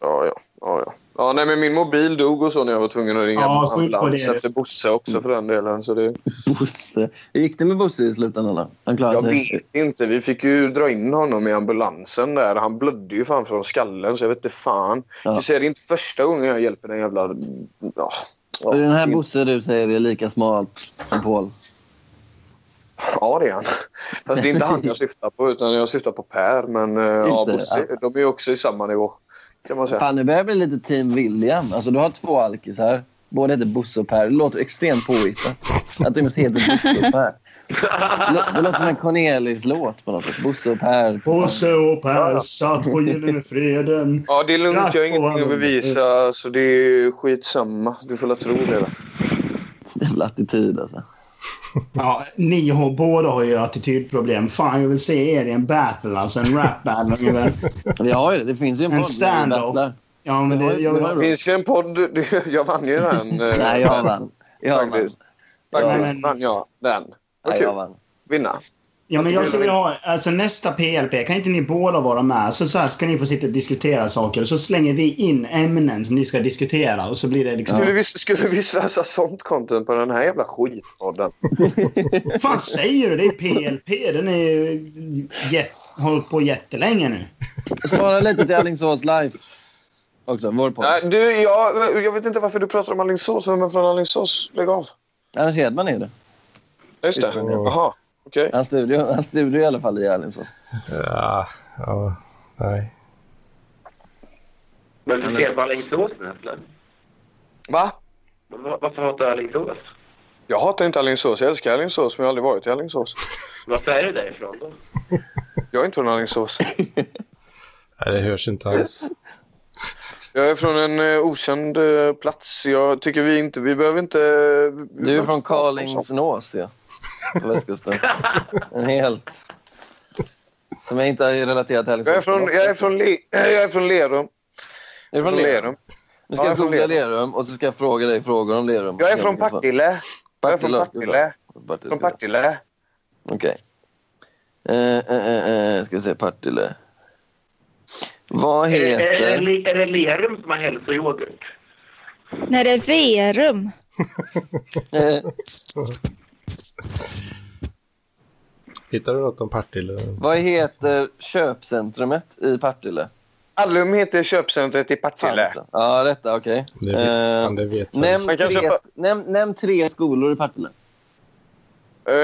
S5: Ja, ja. ja, ja. ja nej, men min mobil dog och så när jag var tvungen att ringa
S3: Ja, skyll på
S5: ambulans
S3: det. Mm.
S5: efter Bosse också för den delen. Så det,
S2: Bosse. Hur gick det med Bosse i slutändan då? Han
S5: jag
S2: klarade sig?
S5: vet inte. Vi fick ju dra in honom i ambulansen där. Han blödde ju fan från skallen så jag vet inte fan.
S2: Ja.
S5: Du ser, det är inte första gången jag hjälper den jävla... Ja. Ja,
S2: Och den här
S5: det-
S2: Bosse du säger är lika smal som Paul.
S5: Ja, det är han. Fast det är inte han jag syftar på, utan jag syftar på Per. Men eh, ja,
S2: det,
S5: Bosse, de är ju också i samma nivå. Kan man säga.
S2: Fan, nu börjar jag bli lite team William. Alltså, du har två alkisar. Båda heter Bosse och Per. Det låter extremt påhittat. Att de måste heta Bosse och Per. Det lå- Det låter som en Cornelis-låt på något sätt. Bosse och Per.
S3: Bosse och Per satt på gyllene freden.
S5: Ja, det är lugnt. Jag har
S3: Tack,
S5: ingenting att
S3: Johan.
S5: bevisa, så det är skitsamma. Du får la tro det. Då.
S2: Jävla attityd alltså.
S3: Ja, ni har, båda har ju attitydproblem. Fan, jag vill se er i en battle, alltså. En rap-battle ungefär.
S2: Vi har ju det. Det finns ju en
S3: En
S2: podd. där vi
S3: stand-off.
S2: battlar.
S3: Ja, men det... Jag,
S5: Det finns ju en podd. det- Jag vann ju den. eh,
S2: Nej, jag vann. Jag vann.
S5: Faktiskt. Faktiskt
S3: men-
S5: vann jag den. Vad
S2: Nej, jag
S5: kul.
S2: vann.
S5: Vinna.
S3: Ja, men jag skulle vilja ha, alltså nästa PLP, kan inte ni båda vara med? Så, så här ska ni få sitta och diskutera saker och så slänger vi in ämnen som ni ska diskutera och så blir det liksom...
S5: Skulle vi, skulle vi slösa sånt content på den här jävla skitpodden?
S3: Vad fan säger du? Det är PLP, den är ju jätt, hållit på jättelänge nu.
S2: Spara lite till Alingsås live. Också, vår podd.
S5: Nej, du, jag, jag vet inte varför du pratar om Alingsås. Vem är från Alingsås? Lägg av.
S2: Anders Hedman är det.
S5: Just det. Jaha. Okej.
S2: Hans studio, hans studio i alla fall i Alingsås.
S1: Ja, ja, nej.
S8: Men du ser på Alingsås nästan.
S5: Va?
S8: Va- Varför hatar du Alingsås?
S5: Jag hatar inte Alingsås. Jag älskar Alingsås, men jag har aldrig varit i Alingsås.
S8: Varför är du därifrån då?
S5: Jag är inte från Alingsås.
S1: nej, det hörs inte alls.
S5: Jag är från en eh, okänd eh, plats. Jag tycker vi inte... Vi behöver inte... eh,
S2: Du är från Karlingsnås, ja. På västkusten. En helt... Som jag inte har relaterat till
S5: Jag är
S2: Alingsås.
S5: från, jag är från, Le- jag är från Lerum.
S2: Är du från Lerum? Nu ska
S5: Ja, jag är
S2: jag
S5: från
S2: googla
S5: Lerum.
S2: Lerum och så ska jag fråga dig frågor om Lerum.
S5: Jag är från Partille. Jag är från Partille.
S2: Partille.
S5: Från Partille.
S2: Okej. Eh, eh, eh, eh, ska vi se, Partille. Vad
S8: Är, det- är, det
S2: heter...
S8: Le- är det Lerum som har hälsoyoghurt?
S6: När det är Verum.
S2: eh,
S1: Hittar du något om Partille?
S2: Vad heter köpcentrumet i Partille?
S5: Allum heter köpcentret i Partille.
S2: Fan, Ja, detta. Okej.
S1: Det vet,
S2: Eh,
S1: fan, det vet jag.
S2: Nämn
S5: Man kan
S2: tre,
S5: köpa-
S2: nämn, nämn tre skolor i Partille. alltså.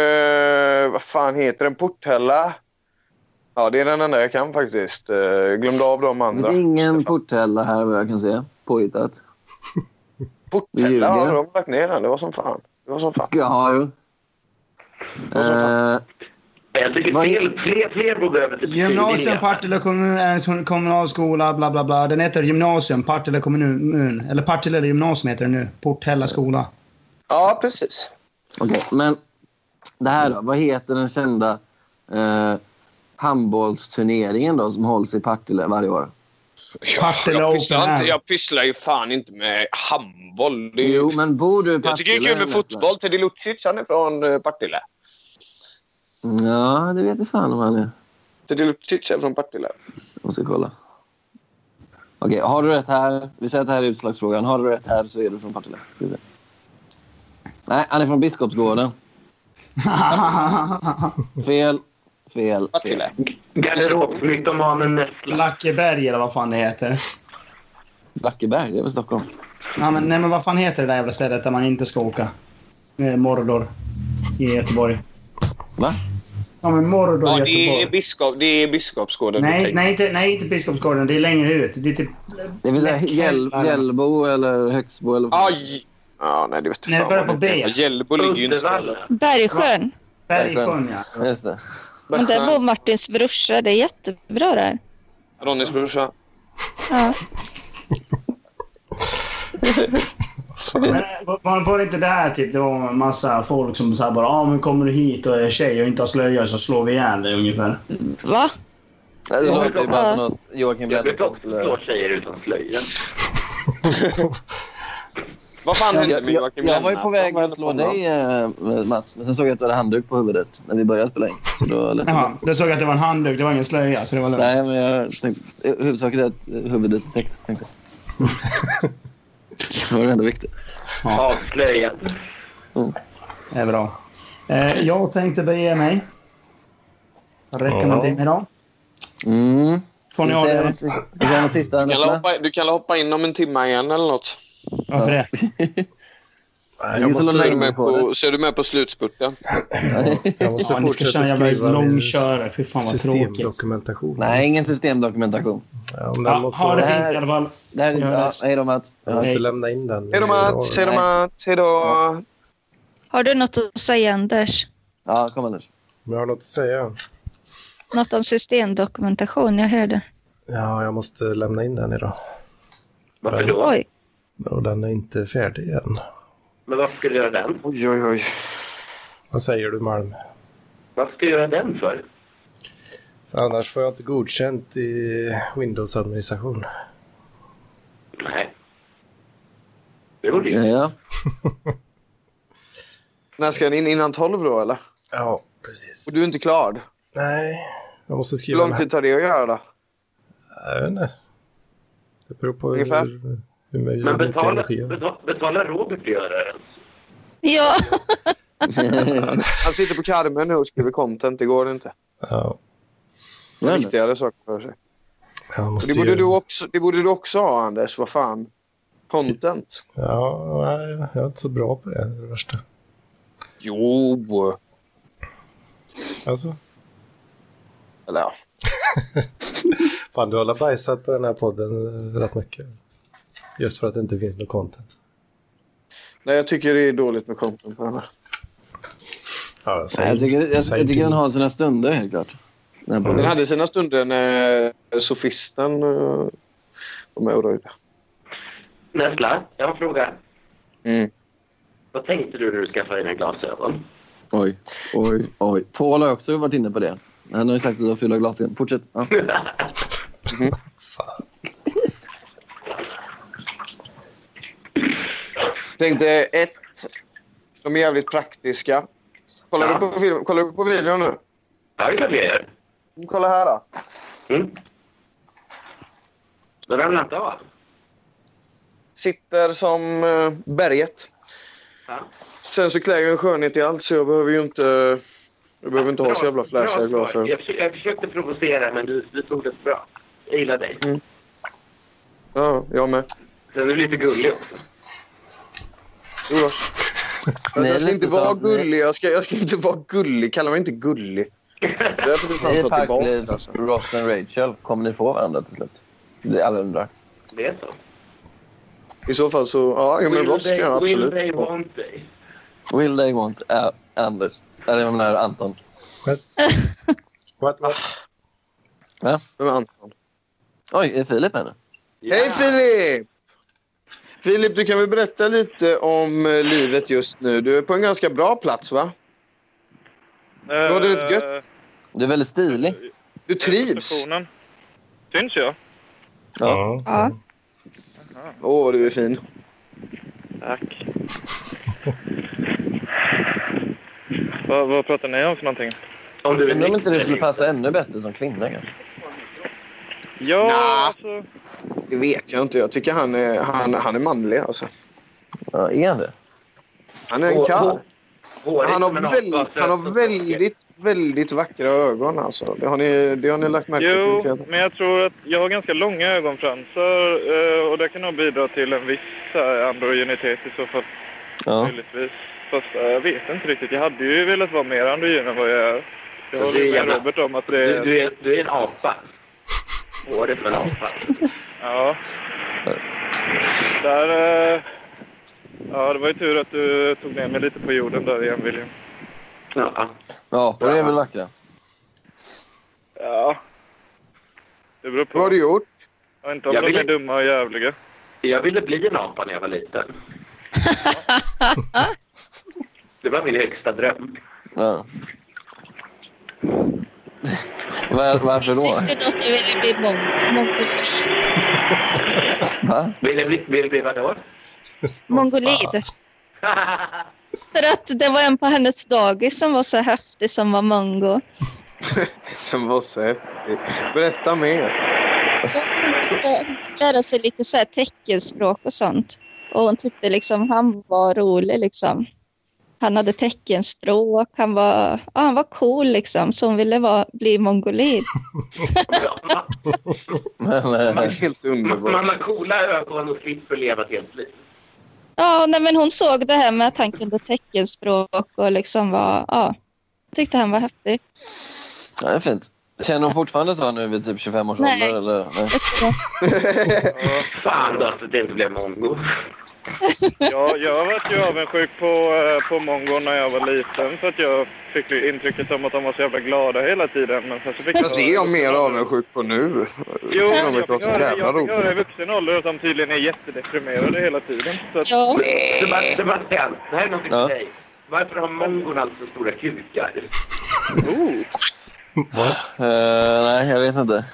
S5: Eh, vad fan heter den? Porthälla? Ja, det är den enda jag kan faktiskt. Uh, glömde av de
S2: Det
S5: andra.
S2: finns ingen porthälla här vad jag kan se. Påhittat.
S5: Porthälla
S2: Ljuger.
S5: har de lagt ner den. Det var som fan. Det var som fan.
S2: Ja, jo.
S5: Och så
S2: Eh,
S8: Jag tycker
S2: Vad är-
S8: fel, fler, fler borde gå över till
S3: Gymnasium
S8: frivilliga.
S3: Partille kommun eh, är en kommunalskola, bla bla bla. Den heter Gymnasium Partille kommun. Eller Partille gymnasium heter den nu. Porthälla skola.
S5: Ja, precis.
S2: Okej, men det här då. Vad heter den kända eh, handbollsturneringen då som hålls i Partille varje år?
S5: Jag,
S3: Partille
S5: jag,
S3: Open
S5: pysslar inte,
S3: Air.
S5: jag pysslar ju fan inte med handboll. Det är,
S2: Jo, men bor du i Partille?
S5: jag tycker det är kul med
S2: Nästan?
S5: fotboll. Teddy Lucic, han är från eh, Partille.
S2: Ja, det vet jag fan om han är.
S5: Teddy Lucic är från Partille.
S2: Måste kolla. Okej, har du rätt här? Vi säger att det här är utslagsfrågan. Har du rätt här så är du från Partille. Ska vi se. Nej, han är från Biskopsgården. Fel, fel, fel.
S5: Partille.
S8: Garderobsmytomanen Nessla.
S3: Lackeberg eller vad fan det heter.
S2: Blackeberg, det är väl Stockholm?
S3: Ja, men, nej, men vad fan heter det där jävla stället där man inte ska åka? Eh, Mordor i Göteborg.
S2: Va?
S3: Ja, men Mordor
S5: Ja,
S3: i
S5: det är,
S3: Göteborg.
S5: biskop, det är Biskopsgården.
S3: Nej, nej, inte, nej, inte Biskopsgården. Det är längre ut. Det är typ...
S2: Det vill säga Hjäl Hjällbo eller Högsbo eller...
S5: Aj! Ja, nej, det vet
S3: Nej, det
S5: fan
S3: börjar
S5: vad
S3: på B.
S5: heter. Hjällbo ligger ju inte...
S8: Uddevalla.
S6: Bergsjön.
S3: Bergsjön, ja.
S2: Just det.
S6: Men där bor Martins brorsa. Det är jättebra där.
S5: Ronnys brorsa.
S6: Ja.
S3: Men eh, var, var det inte där typ, det var en massa folk som sa bara ah, men kommer du hit och är tjej och inte har slöja så slår vi ihjäl dig ungefär.
S6: Va?
S2: Det låter ju bara som något Joakim
S8: Jag brukar
S2: Bennett
S8: också slå tjejer utan slöja.
S5: Vad fan hände
S2: Jag,
S5: med
S2: jag,
S5: Joakim
S2: jag var ju
S5: Lennart?
S2: på väg att
S5: Vad hände
S2: slå
S5: på honom?
S2: dig, eh, Mats, men sen såg jag att du hade handduk på huvudet när vi började spela in. Så då lät det
S3: Jaha, jag såg att det var en handduk. Det var ingen slöja, så det var lugnt.
S2: Nej, men jag tänkte, huvudsaken är att huvudet är täckt, tänkte jag. det var det ändå viktigt.
S8: Avslöjat.
S3: Det är bra. Eh, jag tänkte bege mig. Vad räcker man till mig då?
S2: Mm.
S3: Får ni
S2: Vi
S3: ha
S2: säger
S3: det?
S2: något sista- vi säger något sista,
S5: Du kan la
S2: Nessla.
S5: hoppa- Du kan la hoppa in om en timme igen eller något.
S3: Varför det?
S1: Nej,
S2: Det är
S1: Jag
S2: så
S1: måste,
S5: Så är du
S2: länge.
S5: med på, så är du med på slutspurten.
S1: jag måste
S3: Ja, ni ska köra
S1: fortsätta
S3: jävla
S1: skriva min
S3: långkörare. Fy fan vad tråkigt.
S1: systemdokumentation.
S2: Nej, ingen systemdokumentation.
S1: Ja, men den
S3: Ja,
S1: måste,
S3: ha det
S2: vara-
S3: fint i alla fall.
S2: Det här är inte...
S3: Ja,
S2: Ja,
S3: det-
S2: hej då, Mats.
S1: jag måste
S3: Nej.
S1: lämna in den.
S5: Hej då Mats, hej då Mats, hej då.
S6: Har du något att säga Anders?
S2: Ja, kom Anders.
S1: Men jag har något att säga.
S6: Något om systemdokumentation? Jag hörde.
S1: Ja, jag måste lämna in den idag.
S8: Varför då?
S6: Oj,
S1: Och den är inte färdig än.
S8: Men varför skulle du göra den?
S5: Oj, oj, oj.
S1: Vad säger du Malm?
S8: Varför ska du göra den för?
S1: För annars får jag inte godkänt i Windows-administration.
S8: Nej. Det borde
S2: Ja,
S8: ju...
S2: ja.
S5: När ska den in? Innan 12 då eller?
S1: Ja, precis.
S5: Och du är inte klar?
S1: Nej, jag måste
S5: Hur
S1: skriva
S5: lång
S1: den här.
S5: tid tar det att göra då?
S1: Jag vet inte. Det beror på
S5: Ungefär.
S1: hur, hur
S8: Men
S1: mycket
S8: betala,
S1: energi jag har.
S8: betala, betala Robert för att göra den.
S6: ja.
S5: Han sitter på Carmen nu och skriver content. Det går inte.
S1: Ja,
S5: Det är
S2: Men,
S5: viktigare saker för sig.
S1: jag måste
S5: Det borde,
S1: göra-
S5: du också, det borde du också ha Anders. Vad fan. Content.
S1: Ja, nej, jag är inte så bra på det. Det är det värsta.
S5: Jo.
S1: Alltså,
S5: Eller ja.
S1: fan du har alla bajsat på den här podden rätt mycket. Just för att det inte finns något content.
S5: Nej, jag tycker det är dåligt med content på den här.
S1: Ja, jag säger,
S2: jag tycker, jag,
S1: säger
S2: jag tycker den
S1: till.
S2: har sina stunder, helt klart. Den här
S5: Den
S2: podden.
S5: hade sina stunder när sofisten eh, var med och röjde.
S8: Nessla, jag har en fråga.
S5: Mm.
S8: Vad tänkte du när du skaffade dina glasögon?
S2: Oj, oj, oj. Paul har också varit inne på det. Han har ju sagt att du har fylla glasögon. Fortsätt. Ja.
S5: Tänkte ett. De är jävligt praktiska. Kollar,
S8: Ja.
S5: du, på film, kollar du på videon nu?
S8: Ja, det är klart jag gör.
S5: Kolla här då.
S8: Mm. Då ramlar inte av.
S5: Sitter som eh, berget.
S8: Ja.
S5: Sen så klär jag en skönhet i allt så jag behöver ju inte... Jag behöver inte ha så jävla flashiga
S8: Bra svar.
S5: glasögon.
S8: Jag, försö- jag försökte provocera, men du, du tog det bra. Jag gillar dig.
S5: Ja, jag med.
S8: Sen är du lite gullig också.
S5: Jo då.
S2: Nej,
S5: jag
S2: det
S5: ska
S2: är
S5: inte
S2: inte
S5: vara
S2: sant. Nej.
S5: gullig. Jag ska, jag ska inte vara gullig. Kalla mig inte gullig. Det där får du fan
S2: Hej,
S5: ta
S2: Parklid,
S5: tillbaka. Alltså.
S2: Ross och Rachel. Kommer ni få varandra till slut? Det är alla undrar.
S8: Det är så.
S5: I så fall så... Ja, jo, men Ross kan jag
S8: Will
S5: absolut.
S8: they want dig?
S2: Will they want uh, Anders? Eller jag menar Anton.
S1: What, what?
S5: Vem är Anton?
S2: Oj, är Filip med nu?
S5: Hej Filip! Filip, du kan väl berätta lite om eh, livet just nu. Du är på en ganska bra plats, va?
S9: Eh,
S5: Var det lite gött?
S2: Du är väldigt stilig.
S5: Du trivs.
S9: Personen. Syns jag?
S1: Ja.
S6: Ja.
S5: Åh, vad du är fin.
S9: Tack. vad, vad pratar ni om för någonting?
S8: Om du är
S2: Undrar om inte du
S8: nykter
S2: skulle
S8: eller
S2: passa ännu bättre som kvinna kanske?
S9: Ja,
S5: Nja.
S9: alltså.
S5: Det vet jag inte. Jag tycker han är, han, han är manlig. Alltså.
S2: Ja, är han det?
S5: Han är en
S8: Hår-
S5: karl.
S8: hår- hårig,
S5: Han har,
S8: men alltså,
S5: väl,
S8: avsaknad
S5: han
S8: av
S5: har
S8: socker.
S5: väldigt, väldigt vackra ögon. Alltså. Det, har ni, det har ni lagt märke till. kan
S9: Jo,
S5: jag-
S9: men jag tror att jag har ganska långa ögonfransar eh, och det kan nog bidra till en viss eh, androgynitet i så fall.
S2: Ja.
S9: Möjligtvis. Fast eh, jag vet inte riktigt. Jag hade ju velat vara mer androgyn än vad jag är. Jag
S8: Det är
S9: håller med
S8: jävla-
S9: Robert om att det
S8: Du,
S9: är...
S8: du, är, du är en apa. Håret med en apa.
S9: Ja. Där... eh, Ja, det var ju tur att du tog ner mig lite på jorden där igen, William.
S8: Ja.
S2: Ja, och det är väl vackra.
S9: Ja. Det beror på.
S5: Vad har du gjort?
S9: Jag vet inte om
S8: Jag
S9: de är
S8: vill-
S9: dumma och jävliga.
S8: Jag ville bli en apa när jag var liten. Det var min högsta dröm.
S2: Ja. Var, varför
S6: Min
S2: då?
S6: systerdotter ville bli mong- mongolin.
S2: Va?
S8: Ville bli, ville bli vadå?
S6: Mongolid. För att det var en på hennes dagis som var så häftig som var mongo.
S5: Som var så häftig. Berätta mer.
S6: Hon tyckte- hon fick lära sig lite så här teckenspråk och sånt. Och hon tyckte liksom han var rolig liksom. Han hade teckenspråk, han var, ja, han var cool liksom. Så hon ville vara, bli mongolid.
S5: Det
S2: eh,
S5: är Helt
S8: Man
S5: underbart.
S8: har coola ögon och slipper leva ett helt liv.
S6: Ja, nej, men hon såg det här med att han kunde teckenspråk och liksom var, ja, tyckte han var häftig.
S2: Ja, det är fint. Känner hon fortfarande så nu vid typ 25 års
S6: Nej.
S2: ålder? Eller? Nej.
S8: Fan då att det inte blev mongo.
S9: Ja, jag var ju avundsjuk på, eh, på mongon när jag var liten för att jag fick ju intrycket om att de var så jävla glada hela tiden. Men sen så fick
S5: Fast det är jag mer avundsjuk på nu.
S9: Jo,
S5: Det
S9: jag
S5: kan
S9: fick
S5: väl inte vara så
S9: höra-
S5: jävla
S9: jag fick höra i
S5: roligt.
S9: vuxen ålder att de tydligen är jättedeprimerade hela tiden. Så att,
S6: Ja,
S8: Sebast- Sebastian, det här är någonting
S2: Eh. Ja.
S8: för dig. Varför har mongon alltså stora kukar?
S2: Eh, nej, jag vet inte.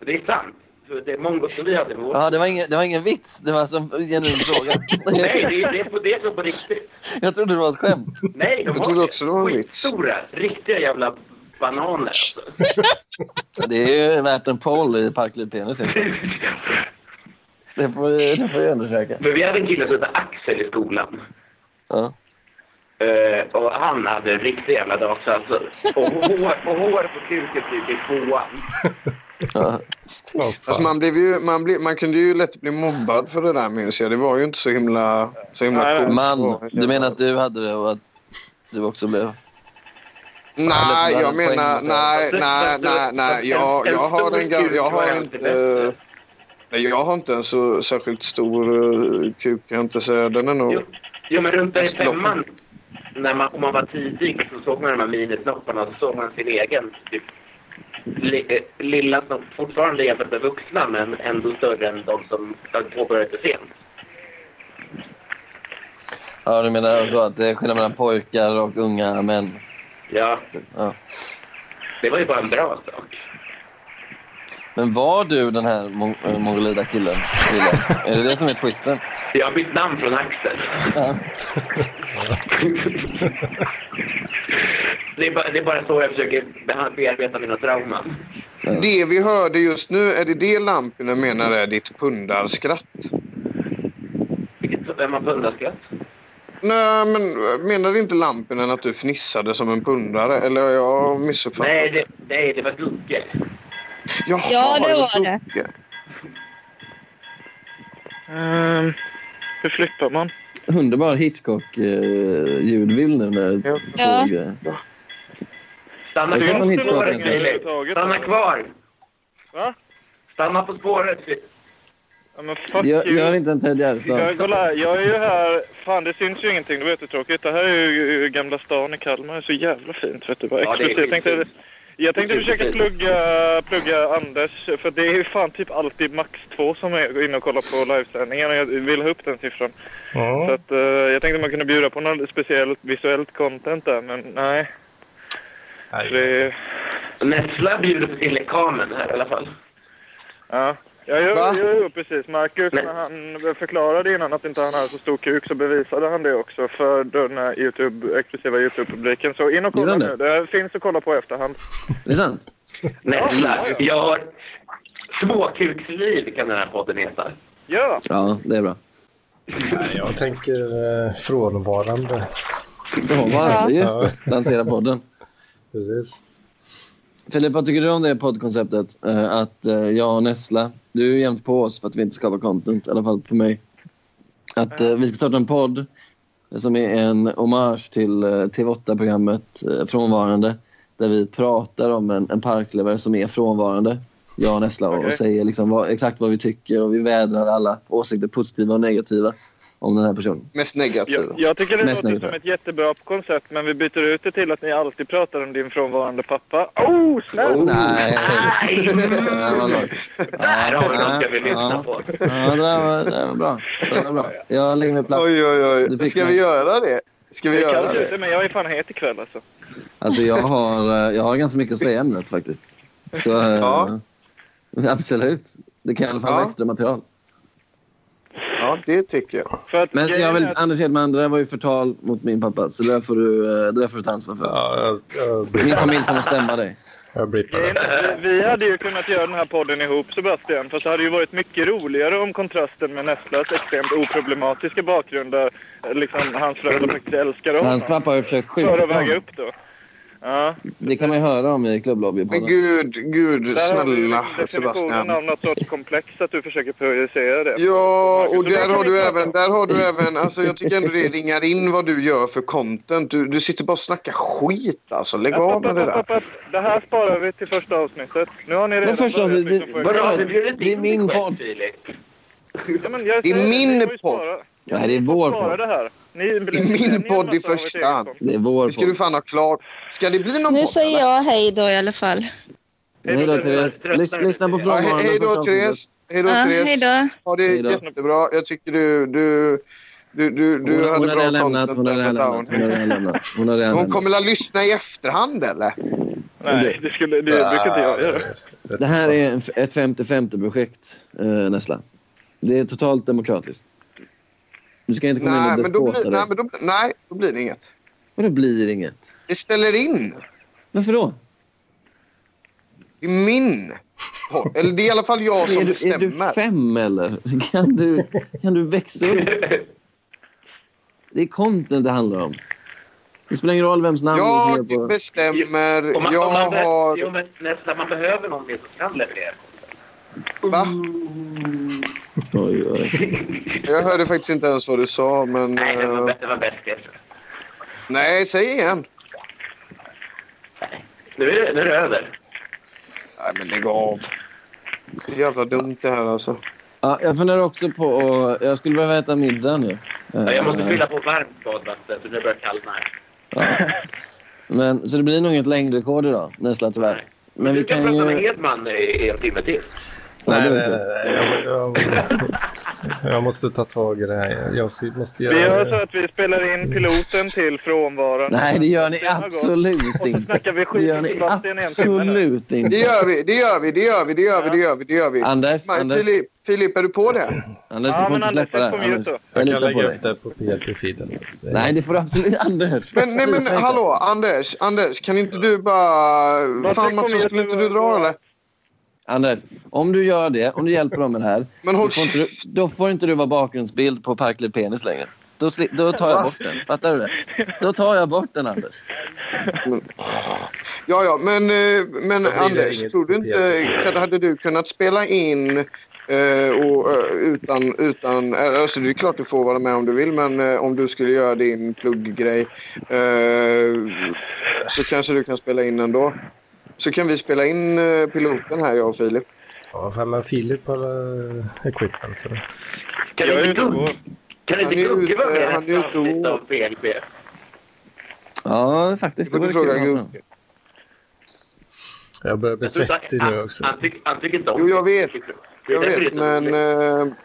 S8: Det är sant. För Det är mongo som vi hade med vår.
S2: Ah, det, var ingen, det var ingen vits. Det var alltså en genuin fråga.
S8: Nej, det är, det, är på, det är så på riktigt.
S2: jag trodde det var ett skämt.
S8: Nej, de
S5: Jag trodde
S8: har
S5: också det var en vits.
S8: stora, riktiga jävla bananer alltså.
S2: Det är ju värt en poll i Parklivpenis. Det får, vi- det får vi undersöka.
S8: Men vi hade en kille som hette Axel i skolan.
S2: Ja.
S8: Eh, och han hade en riktig jävla dasa alltså. Och hår, och hår på kuken typ i tvåan.
S2: Ja.
S1: Åh,
S5: Alltså
S1: fan.
S5: man, blev ju, man, blev, man kunde ju lätt bli mobbad för det där minns jag. Det var ju inte så himla, så himla
S9: Nej,
S5: coolt.
S2: Man, du menar att du hade det och att du också blev...
S5: Nej,
S2: Eller-
S5: jag
S2: eller
S5: menar,
S2: poäng.
S5: nej, nej,
S8: Fast-
S5: nej,
S8: fast-
S5: nej.
S8: fast
S5: Jag,
S8: en-
S5: jag
S8: en
S5: har
S8: alltså, stor
S5: en gam-
S8: kuk
S5: jag
S8: var
S5: har
S8: alltid
S5: inte... eh,
S8: bättre.
S5: Nej, jag har inte en så särskilt stor eh, kuk, kan jag inte säga. Den är nog...
S8: Jo, jo men runt där i
S5: Hästloppen.
S8: femman, när man, om man var tidig, så såg man de här minisnopparna och så såg man sin egen. Typ, li, eh, lilla snopp, fortfarande jämfört med vuxna, men ändå större än de som påbörjade sent.
S2: Ja, du menar alltså att det är skillnad mellan pojkar och unga män?
S8: Ja,
S2: Ja.
S8: det var ju bara en bra sak.
S2: Men var du den här mong- eh, mongolida killen? Killen? Är det det som är twisten?
S8: Jag har bytt namn från Axel.
S2: Ja.
S8: det, är bara, det är bara så jag försöker beha- bearbeta mina trauman.
S5: Det vi hörde just nu, är det det Lampinen menar är ditt pundarskratt?
S8: Vilket, vem har pundarskratt?
S5: Nej, men menade inte Lampinen att du fnissade som en pundare? Eller har jag missuppfattat?
S8: Nej, det, nej, det var Gugge.
S5: Jaha,
S6: Ja, det var
S5: trodde-
S9: ehm, hur flyttar man?
S2: Underbar Hitchcock-ljudbild nu när...
S5: Ja.
S6: Ja.
S8: Stanna
S2: Det är som en
S8: kvar på
S2: Hitchcock,
S8: spåret,
S2: egentligen.
S8: Filip. Stanna kvar.
S9: Va?
S8: Stanna på spåret. Filip.
S9: Ja, men fuck
S2: Gör,
S9: you.
S2: gör inte en Ted
S9: Jag,
S2: Gärdestad.
S9: kolla, jag är ju här. Fan, det syns ju ingenting. Det var jättetråkigt. Det här är ju eh, Gamla stan i Kalmar. Det är så jävla fint. Vet du. Bara
S8: Ja, det är
S9: exklusivt. jag tänkte,
S8: skitfint.
S9: jag tänkte
S8: Det är
S9: försöka
S8: skitfint.
S9: plugga, plugga Anders. För det är ju fan typ alltid max två som är inne och kollar på livesändningen. Och jag vill ha upp den siffran. Så
S1: Ja.
S9: att, eh, jag tänkte man kunde bjuda på något speciellt visuellt content där. Men nej.
S1: Nej.
S9: Det,
S8: Nessla bjuder på sin lekamen här i alla fall.
S9: ja. Ja, jag,
S5: Va?
S9: jag, jag, precis. Marcus,
S8: Nej.
S9: när han förklarade innan att inte han hade så stor kuk så bevisade han det också för den här YouTube, exklusiva YouTube-publiken. Så in
S2: Gjorde
S9: och kolla
S2: han
S9: nu. Det finns att kolla på i efterhand.
S2: Det är sant?
S8: Nessla, jag har... Småkuksliv kan den här podden heta.
S9: Ja!
S2: Ja, det är bra.
S1: Nej, jag tänker eh, frånvarande.
S2: Oh,
S6: Ja.
S2: var, just det. Lansera podden.
S1: Precis.
S2: Filip, vad tycker du om det poddkonceptet? Eh, att eh, jag och Nessla, du är jämt på oss för att vi inte skapar content, i alla fall på mig. Att eh, vi ska starta en podd som är en hommage till eh, TV8-programmet eh, Frånvarande. Där vi pratar om en, en parklevare som är frånvarande. Jag och Nessla och, och
S9: Okej.
S2: säger liksom vad, exakt vad vi tycker och vi vädrar alla åsikter, positiva och negativa, om den här personen.
S5: Mest negativa.
S9: Jag, jag tycker det
S2: Mest
S9: låter
S2: negativa.
S9: som ett jättebra koncept men vi byter ut det till att ni alltid pratar om din frånvarande pappa. Oh, snäll!
S2: Nej!
S8: Nej!
S2: Nej, vad lågt.
S8: Där har vi något jag vill
S2: Ja.
S8: lyssna på.
S2: Ja, det där var, det där var bra. Det där var bra. Jag lägger mig platt.
S5: Oj, oj,
S2: Du
S5: oj.
S2: fick
S5: Ska vi
S2: mig.
S5: göra det? Ska vi
S9: Det är
S5: göra
S9: Oh, kallt
S5: det?
S9: ute men jag är fan het ikväll alltså.
S2: Alltså jag har, eh, jag har ganska mycket att säga om det faktiskt. Så, ja.
S5: Ja.
S2: Absolut. Det kan i alla fall
S5: Ja.
S2: vara extra material.
S5: Ja, Ja, det tycker jag.
S9: För att
S2: Men
S9: grejen
S2: jag vill,
S9: är att-
S2: Anders Hedman, det där var ju förtal mot min pappa. Så det där får du, eh, det där får du ta ansvar för. Min familj kommer att stämma dig.
S1: Jag blippar
S9: Grejen är att eh, Vi hade ju kunnat göra den här podden ihop Sebastian, fast det hade ju varit mycket roligare om kontrasten med Nestlas extremt oproblematiska bakgrund där eh, liksom, hans föräldrar faktiskt älskar honom.
S2: Hans pappa har ju försökt
S9: För
S2: skjuta
S9: att väga
S2: honom.
S9: upp då. Ja,
S2: Det kan man ju höra om i klubblobby.
S5: Men gud, gud,
S9: där har du ju
S5: snälla
S9: definitionen
S5: Sebastian.
S9: av något sorts komplex att du försöker projicera det.
S5: Ja,
S9: Så
S5: och där
S9: kan
S5: har
S9: vi
S5: du
S9: prata
S5: även,
S9: om.
S5: där har du även, alltså jag tycker ändå det ringar in vad du gör för content. Du, du sitter bara och snackar skit alltså. Lägg
S9: App,
S5: av
S9: app,
S5: med det
S9: app,
S5: där.
S9: app, app. Det här sparar vi till första avsnittet. Nu har ni redan
S2: första
S9: börjat,
S2: avsnittet,
S9: liksom, på-
S2: vadå?
S8: Bra, du bjöd inte
S2: Det är
S8: in
S2: min
S8: dig själv,
S2: podd.
S8: Filip.
S9: Ja, men jag
S5: Det är
S9: säger
S5: min
S9: ni får ju
S5: podd.
S9: spara-
S2: Ja, det är
S9: ni får
S2: vår
S9: spara
S2: podd.
S9: det här. Ni
S5: Det är min
S9: ni har
S5: podd i
S9: massa av ert
S5: första
S9: eget
S5: hand.
S9: sånt.
S2: Det är vår
S5: Det ska du
S2: podd.
S5: fan ha klart. Ska det bli någon
S6: Nu
S5: podd,
S6: säger
S5: eller?
S6: jag hej då i alla fall.
S2: Hej då, Therese. Lys- Lyssna på
S5: Ja,
S2: frågan.
S5: he- hej då Therese. Hej då
S6: Ja,
S5: Therese.
S6: hej då.
S5: Ja, det är
S2: Hej då.
S5: jättebra. Jag tycker du... du du, du, du
S2: Hon,
S5: hade
S2: hon har
S5: bra
S2: redan lämnat.
S5: content
S2: Hon har
S5: där
S2: redan lämnat.
S5: för
S2: Hon
S5: Downey.
S2: har redan lämnat. Hon har redan
S5: Hon
S2: lämnat.
S5: kommer att lyssna i efterhand eller?
S9: Nej, det, skulle, det brukar inte jag göra.
S2: Det här är en f- ett 50-50-projekt, eh, Nessla. Det är totalt demokratiskt. Du ska inte komma
S5: Nej
S2: in
S5: men,
S2: och
S5: då blir,
S2: despota
S5: nej,
S2: dig.
S5: men då, nej, då blir det inget.
S2: Och då blir det inget.
S5: Vi ställer in.
S2: Varför då?
S5: Det är min podd. Eller det är i alla fall jag
S2: Är
S5: som
S2: du, är du
S5: bestämmer.
S2: fem eller? Kan du, kan du växa upp? Det är content det handlar om. Det spelar ingen roll vems namn du
S5: Jag
S2: skriver på.
S5: bestämmer.
S8: Om man, om
S5: Jag
S8: man, har...
S5: har...
S8: jo, men nästan, man behöver någon mer som kan leverera.
S5: Va?
S2: Oj, oj.
S5: Jag hörde faktiskt inte ens vad du sa men...
S8: Nej, det var,
S5: eh,
S8: bä- det var bäst det.
S5: Nej, säg igen.
S8: Nu är det, nu är det över.
S5: Nej men lägg av. Det är jävla dumt det här alltså.
S2: Ja, jag funderar också på att... Jag skulle behöva äta middag nu.
S8: Ja, jag måste
S2: Eh,
S8: fylla på varmt badvatten så nu börjar det kallna. här.
S2: ja. Men, så det blir nog inget längdrekord idag, Nessla tyvärr. Men vi
S8: du kan
S2: kan
S8: prata med
S2: ju...
S8: Hedman i, i en timme till.
S2: Ja,
S1: Nej,
S2: det
S1: nej,
S2: är
S1: nej. nej. Jag, jag, jag måste ta tag i det här. Jag måste
S9: Vi
S1: göra
S9: gör så att vi spelar in piloten till frånvaron.
S2: Nej, det gör ni
S9: har gått.
S2: absolut
S9: Och så
S2: inte.
S9: snackar vi
S2: Det
S9: skit
S2: gör
S9: om
S2: ni
S9: Sebastian i en timme nu.
S2: absolut
S5: Det
S2: inte.
S5: gör vi, det gör vi, det gör vi, det gör vi, det gör vi. Det gör vi.
S2: Anders,
S5: Men,
S2: Anders,
S5: Filip, Filip, är du på det?
S2: Anders
S9: Ja,
S2: du får
S9: men
S2: inte släppa det.
S9: Anders, det
S2: här,
S9: kommer ju
S2: Anders.
S9: så.
S2: Jag
S1: Jag kan
S2: litar på
S1: lägga
S2: dig.
S1: upp det på PLP-feeden.
S2: Nej, det får du absolut Anders.
S5: Men, nej, men
S2: Sluta.
S5: hallå, Anders, Anders, kan inte du bara... Fan
S9: kommer
S5: Mattias,
S9: jag
S5: skulle
S9: nu
S5: inte du
S9: att-
S5: dra eller?
S2: Anders, om du gör det, om du hjälper dem med det här,
S5: Men
S2: då
S5: håll
S2: får inte du, då får inte du vara bakgrundsbild på Parklid Penis längre. Då, sli, då tar jag bort den. Fattar du det? Då tar jag bort den, Anders.
S5: Ja, ja, men, eh, men
S1: Då blir det
S5: Anders,
S1: inget
S5: tror du inte... Kan, hade du kunnat spela in eh, och, eh, utan... utan eh, alltså, det är klart du får vara med om du vill, men eh, om du skulle göra din plugggrej eh, så kanske du kan spela in ändå. Så kan vi spela in eh, piloten här, jag och Filip.
S1: Ja, fan, men Filip har eh, equipment. Så. det-
S8: Kan
S9: Jag är
S8: inte
S9: ute och
S8: Gugge-
S9: går.
S8: kan inte
S5: Han är
S8: Gugge vara
S5: ute-
S8: med i
S5: han är
S8: nästa
S5: ute och
S8: avsnitt
S5: åker.
S8: av PLP?
S2: Ja, faktiskt. Det
S5: Du
S2: vore
S5: får
S2: kul.
S5: fråga
S2: att ha honom.
S5: Gugge.
S1: Jag börjar bli
S8: Jag tror inte-
S1: svettig
S8: han-
S1: nu också.
S8: Han, tyck, han tycker inte om
S5: Jo, jag vet.
S8: Det är
S5: Jag
S8: därför
S5: vet,
S8: det är så
S5: men...
S8: roligt.
S5: eh,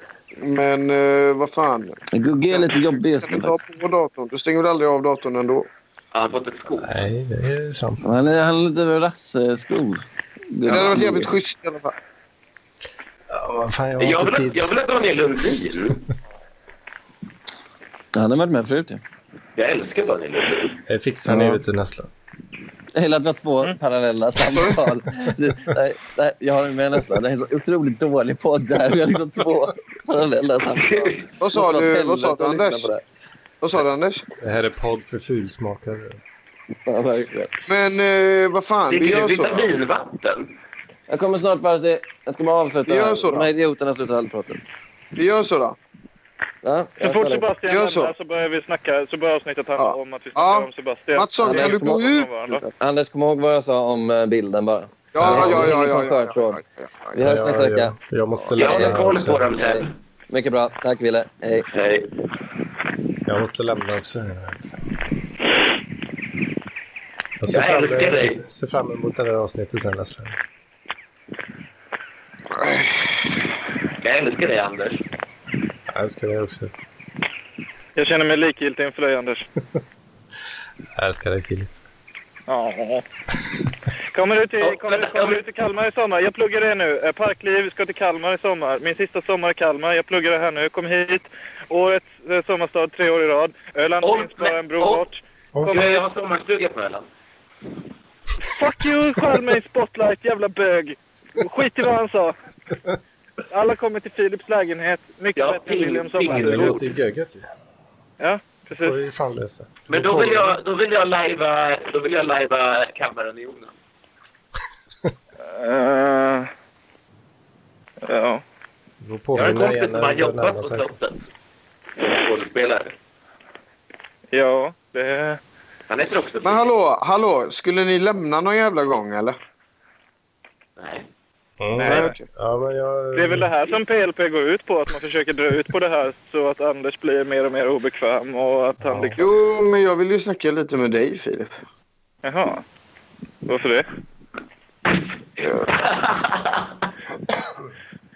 S5: Men eh, vad fan.
S2: Men Gugge är lite jobbig just
S5: Kan du
S2: nu.
S5: ta
S2: faktiskt.
S5: på datorn? Du stänger väl aldrig av datorn ändå?
S8: Han har fått ett skog.
S1: Nej, det är ju sant.
S2: Han är, han är lite rasseskog.
S5: Det hade varit jävligt schysst i alla fall.
S1: Ja, vad fan, jag har
S8: Jag
S1: inte
S8: vill,
S1: tid.
S8: jag vill ha Daniel Lundin.
S2: Han har varit med förut ju.
S8: Jag älskar Daniel Lundin.
S1: Det fixar ni
S2: Ja.
S1: vet du nästa.
S2: Jag gillar att vi har två parallella samtal. Det, det, det, jag har med nästan. Det är en så otroligt dålig podd där. Vi har liksom två parallella samtal.
S5: Vad sa
S2: Måste
S5: du,
S2: vara
S5: vad sa du
S2: helvete att lyssna
S5: Anders?
S2: på det här.
S5: Vad sa du Anders?
S1: Det här är podd för fulsmakare.
S2: Ja, verkligen.
S5: Men eh, vad fan, vi
S8: Dricker
S5: gör
S8: du
S5: så.
S8: vitaminvatten?
S2: Jag kommer snart vara till... Jag ska bara avsluta.
S5: Vi gör
S2: här.
S5: så då.
S2: De här idioterna slutar aldrig prata.
S5: Vi gör så då.
S2: Ja,
S9: Så fort Sebastian
S5: Gör så.
S9: lämnar så börjar vi snacka, så börjar avsnittet handla
S5: Ja.
S9: om att vi
S5: Ja.
S9: snackar om Sebastian.
S5: Mattsson,
S2: kan du gå
S5: ut?
S2: Anders, kom ihåg vad jag sa om eh, bilden bara.
S5: Ja, ja, ja, ja. ja, ja, ja,
S2: Vi
S5: ja.
S2: hörs nästa
S1: jag,
S2: vecka.
S1: jag, jag måste
S8: Jag
S1: lämna
S8: håller koll på
S1: också.
S8: dem sen.
S2: Mycket bra. Tack, Wille. Hej.
S8: Hej.
S1: Jag måste lämna också. Jag ser
S8: Jag
S1: fram,
S8: älskar dig.
S1: emot, ser fram emot det där avsnittet sen nästa vecka.
S8: Jag älskar dig, Anders.
S1: Jag älskar dig också.
S9: Jag känner mig likgiltig inför dig Anders.
S1: Jag älskar dig Filip.
S9: Ja. Kommer du till, kommer, du- kommer du till Kalmar i sommar? Jag pluggar det nu. Eh, Parkliv ska till Kalmar i sommar. Min sista sommar i Kalmar. Jag pluggar det här nu. Kom hit. Årets eh, sommarstad tre år i rad. Öland
S8: Oj,
S9: finns bara
S8: men-
S9: en bro
S8: oj.
S9: bort.
S8: Jag, jag har sommarstuga på Öland.
S9: Fuck you, skäll mig i spotlight, jävla bög! Skit i vad han sa. Alla kommer till Philips lägenhet. Mycket
S8: Ja,
S9: bättre än Williams
S8: ping-
S1: Men det
S9: sommarstugor.
S1: låter ju gögget ju.
S9: Ja,
S1: Det får vi
S9: precis.
S1: ju fan lösa.
S8: Men då vill jag, då vill jag lajva, då vill jag lajva Kalmarunionen.
S9: Eh, ja.
S1: Du får
S8: Jag har en
S1: påminna
S8: kompis
S1: igen
S8: som har
S1: när det
S8: jobbat
S1: närmar
S8: på
S1: sig.
S8: slottet. Skådespelare.
S9: Ja, det...
S8: Han heter också
S5: Men hallå, hallå, skulle ni lämna någon jävla gång eller?
S8: Nej.
S1: Mm.
S5: Nej, okej.
S1: Ja, men jag...
S9: det är väl det här som PLP går ut på. Att man försöker dra ut på det här så att Anders blir mer och mer obekväm och att han
S1: Ja.
S9: liksom...
S5: Jo, men jag vill ju snacka lite med dig Filip.
S9: Jaha. Varför det?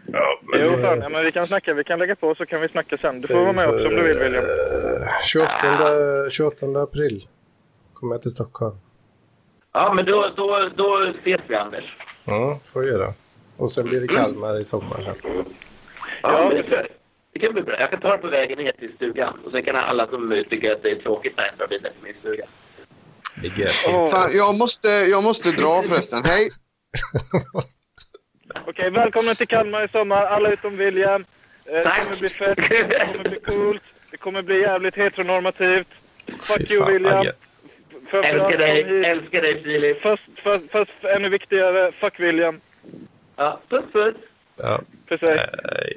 S1: Ja, men
S9: Jo,
S1: det-
S9: fan, ja, men vi kan snacka. Vi kan lägga på så kan vi snacka sen. Du får vara med
S1: Så-
S9: också om du vill, William.
S1: eh, 28, 28 april kommer jag till Stockholm.
S8: Ja, men då, då, då ses vi, Anders.
S1: Mm, får jag göra. Och sen blir det Kalmar i sommar sen.
S9: Ja,
S8: Ja, men
S9: precis.
S8: det, det kan bli bra. Jag kan ta det på vägen ner till stugan. Och sen kan alla som tycker att det är tråkigt där dra vidare till min stuga.
S1: Det är gött.
S9: Åh.
S5: Fan, jag, måste, jag måste dra förresten. Hej!
S9: Okej, välkomna till Kalmar i sommar, alla utom William. Eh, Det
S8: Tack.
S9: kommer bli fett, det kommer bli coolt, det kommer bli jävligt heteronormativt. Fuck
S1: Fy
S9: you
S1: fan, vad
S9: William.
S1: gött.
S8: Älskar
S9: Framförallt
S8: dig,
S9: kom hit.
S8: älskar dig, Filip.
S9: Fast, fast, fast ännu viktigare, fuck William.
S8: Uh, Ja, puss, puss.
S1: Ja,
S8: Eh,
S9: Precis.
S1: hej.